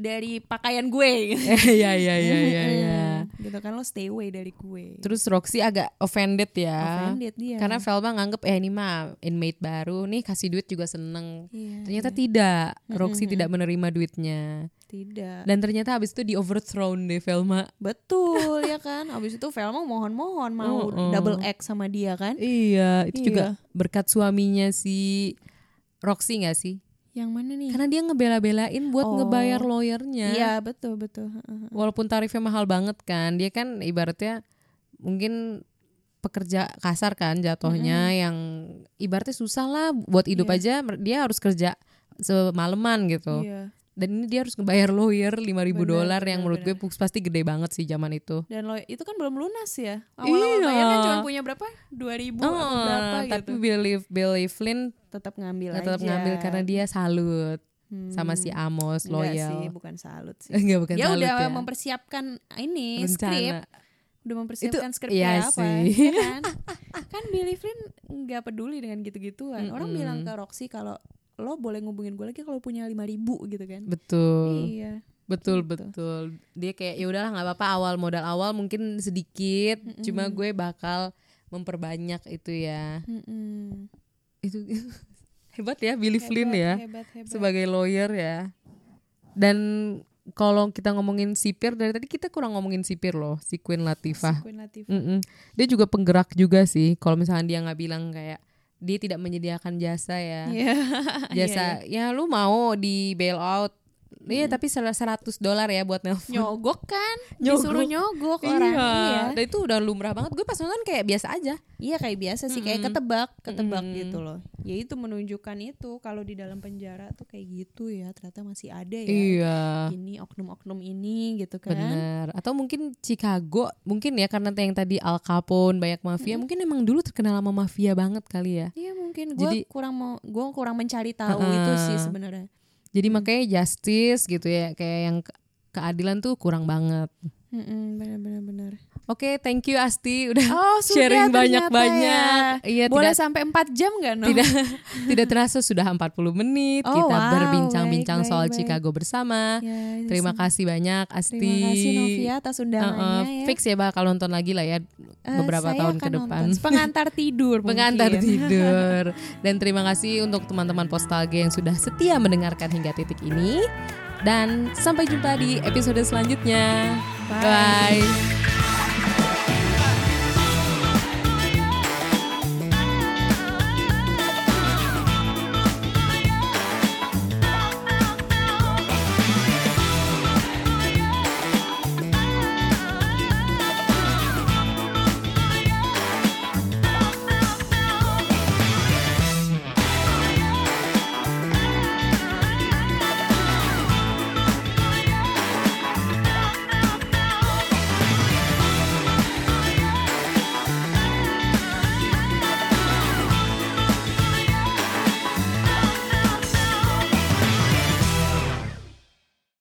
[SPEAKER 7] dari pakaian gue gitu.
[SPEAKER 1] ya ya ya ya ya
[SPEAKER 7] gitu kan lo stay away dari gue
[SPEAKER 1] terus Roxy agak offended ya
[SPEAKER 7] Offended iya. dia.
[SPEAKER 1] karena Velma nganggep eh ini mah inmate baru nih kasih duit juga seneng
[SPEAKER 7] Iya, Hmm,
[SPEAKER 1] ternyata tidak Roxy tidak menerima duitnya
[SPEAKER 7] tidak
[SPEAKER 1] dan ternyata habis itu di overthrown deh Velma
[SPEAKER 7] betul ya kan abis itu Velma mohon-mohon mau double X sama dia kan
[SPEAKER 1] iya itu juga
[SPEAKER 7] Iya.
[SPEAKER 1] berkat suaminya si Roxy nggak sih
[SPEAKER 7] yang mana nih
[SPEAKER 1] karena dia ngebela-belain buat
[SPEAKER 7] Oh.
[SPEAKER 1] ngebayar lawyernya
[SPEAKER 7] iya betul betul Heeh.
[SPEAKER 1] walaupun tarifnya mahal banget kan dia kan ibaratnya mungkin pekerja kasar kan jatuhnya yang ibaratnya susah lah buat hidup aja mer- dia harus kerja semalaman gitu
[SPEAKER 7] iya
[SPEAKER 1] dan ini dia harus ngebayar lawyer 5000
[SPEAKER 7] Benar,
[SPEAKER 1] dolar yang
[SPEAKER 7] benar,
[SPEAKER 1] menurut gue pus- pasti gede banget sih zaman itu
[SPEAKER 7] dan lo itu kan belum lunas ya awal-awal
[SPEAKER 1] Iya.
[SPEAKER 7] bayar kan cuma punya berapa dua ribu
[SPEAKER 1] Oh,
[SPEAKER 7] berapa
[SPEAKER 1] tapi
[SPEAKER 7] gitu
[SPEAKER 1] Billy Billy Flynn
[SPEAKER 7] tetap ngambil
[SPEAKER 1] tetap
[SPEAKER 7] aja. Hmm.
[SPEAKER 1] ngambil karena dia salut sama si Amos
[SPEAKER 7] Enggak sih
[SPEAKER 1] loyal
[SPEAKER 7] bukan salut sih
[SPEAKER 1] enggak bukan
[SPEAKER 7] dia
[SPEAKER 1] salut
[SPEAKER 7] udah
[SPEAKER 1] ya
[SPEAKER 7] mempersiapkan ini
[SPEAKER 1] rencana
[SPEAKER 7] skrip udah mempersiapkan
[SPEAKER 1] Itu-
[SPEAKER 7] skrip
[SPEAKER 1] iya
[SPEAKER 7] ya apa
[SPEAKER 1] sih.
[SPEAKER 7] ya kan kan Billy Flynn nggak peduli dengan gitu-gituan orang bilang ke Roxy kalau lo boleh ngubungin gue lagi kalau punya lima ribu gitu kan
[SPEAKER 1] betul
[SPEAKER 7] iya
[SPEAKER 1] Betul betul. Dia kayak ya udahlah nggak apa-apa awal modal awal mungkin sedikit, cuma gue bakal memperbanyak itu ya.
[SPEAKER 7] Mm-mm.
[SPEAKER 1] Itu hebat ya Billy Flynn ya
[SPEAKER 7] hebat hebat
[SPEAKER 1] sebagai lawyer ya. Dan kalau kita ngomongin sipir dari tadi kita kurang ngomongin sipir loh, si Queen Latifah.
[SPEAKER 7] Queen Latifah
[SPEAKER 1] Mm-mm. Dia juga penggerak juga sih. Kalau misalnya dia nggak bilang kayak dia tidak menyediakan jasa ya
[SPEAKER 7] Iya.
[SPEAKER 1] jasa ya lu mau di bail out Iya tapi salah 100 dolar ya buat nelpon
[SPEAKER 7] nyogok kan
[SPEAKER 1] Nyogok.
[SPEAKER 7] disuruh nyogok orang
[SPEAKER 1] iya.
[SPEAKER 7] iya
[SPEAKER 1] Dan itu udah lumrah banget. Gue pas nonton kayak biasa aja.
[SPEAKER 7] Iya kayak biasa sih kayak ketebak, ketebak gitu loh. Ya itu menunjukkan itu kalau di dalam penjara tuh kayak gitu ya ternyata masih ada ya.
[SPEAKER 1] Iya.
[SPEAKER 7] Ini oknum-oknum ini gitu kan.
[SPEAKER 1] Bener. Atau mungkin Chicago, mungkin ya karena yang tadi Al Capone banyak mafia, mungkin emang dulu terkenal sama mafia banget kali ya.
[SPEAKER 7] Iya mungkin gue
[SPEAKER 1] Jadi-
[SPEAKER 7] kurang mau gue kurang mencari tahu itu sih sebenarnya.
[SPEAKER 1] Jadi makanya justice gitu ya, kayak yang ke- keadilan tuh kurang banget.
[SPEAKER 7] Mm-mm, Benar-benar benar.
[SPEAKER 1] Oke, thank you Asti udah
[SPEAKER 7] Oh sudah
[SPEAKER 1] sharing
[SPEAKER 7] ternyata
[SPEAKER 1] banyak-banyak.
[SPEAKER 7] ya.
[SPEAKER 1] Iya,
[SPEAKER 7] Boleh
[SPEAKER 1] tidak
[SPEAKER 7] sampai 4 jam nggak no?
[SPEAKER 1] tidak tidak terasa sudah 40 menit
[SPEAKER 7] Oh,
[SPEAKER 1] kita
[SPEAKER 7] wow.
[SPEAKER 1] berbincang-bincang
[SPEAKER 7] Baik,
[SPEAKER 1] soal
[SPEAKER 7] baik, baik.
[SPEAKER 1] Chicago bersama.
[SPEAKER 7] Ya, itu
[SPEAKER 1] Terima
[SPEAKER 7] sih.
[SPEAKER 1] kasih banyak Asti.
[SPEAKER 7] Terima kasih Novia atas undangannya
[SPEAKER 1] Uh-uh,
[SPEAKER 7] ya.
[SPEAKER 1] Fix ya bakal nonton lagi lah ya
[SPEAKER 7] Eh,
[SPEAKER 1] beberapa
[SPEAKER 7] saya
[SPEAKER 1] tahun
[SPEAKER 7] akan
[SPEAKER 1] ke depan.
[SPEAKER 7] nonton. Pengantar tidur.
[SPEAKER 1] Pengantar
[SPEAKER 7] mungkin.
[SPEAKER 1] tidur. Dan terima kasih untuk teman-teman Postalge yang sudah setia mendengarkan hingga titik ini. Dan sampai jumpa di episode selanjutnya. Bye.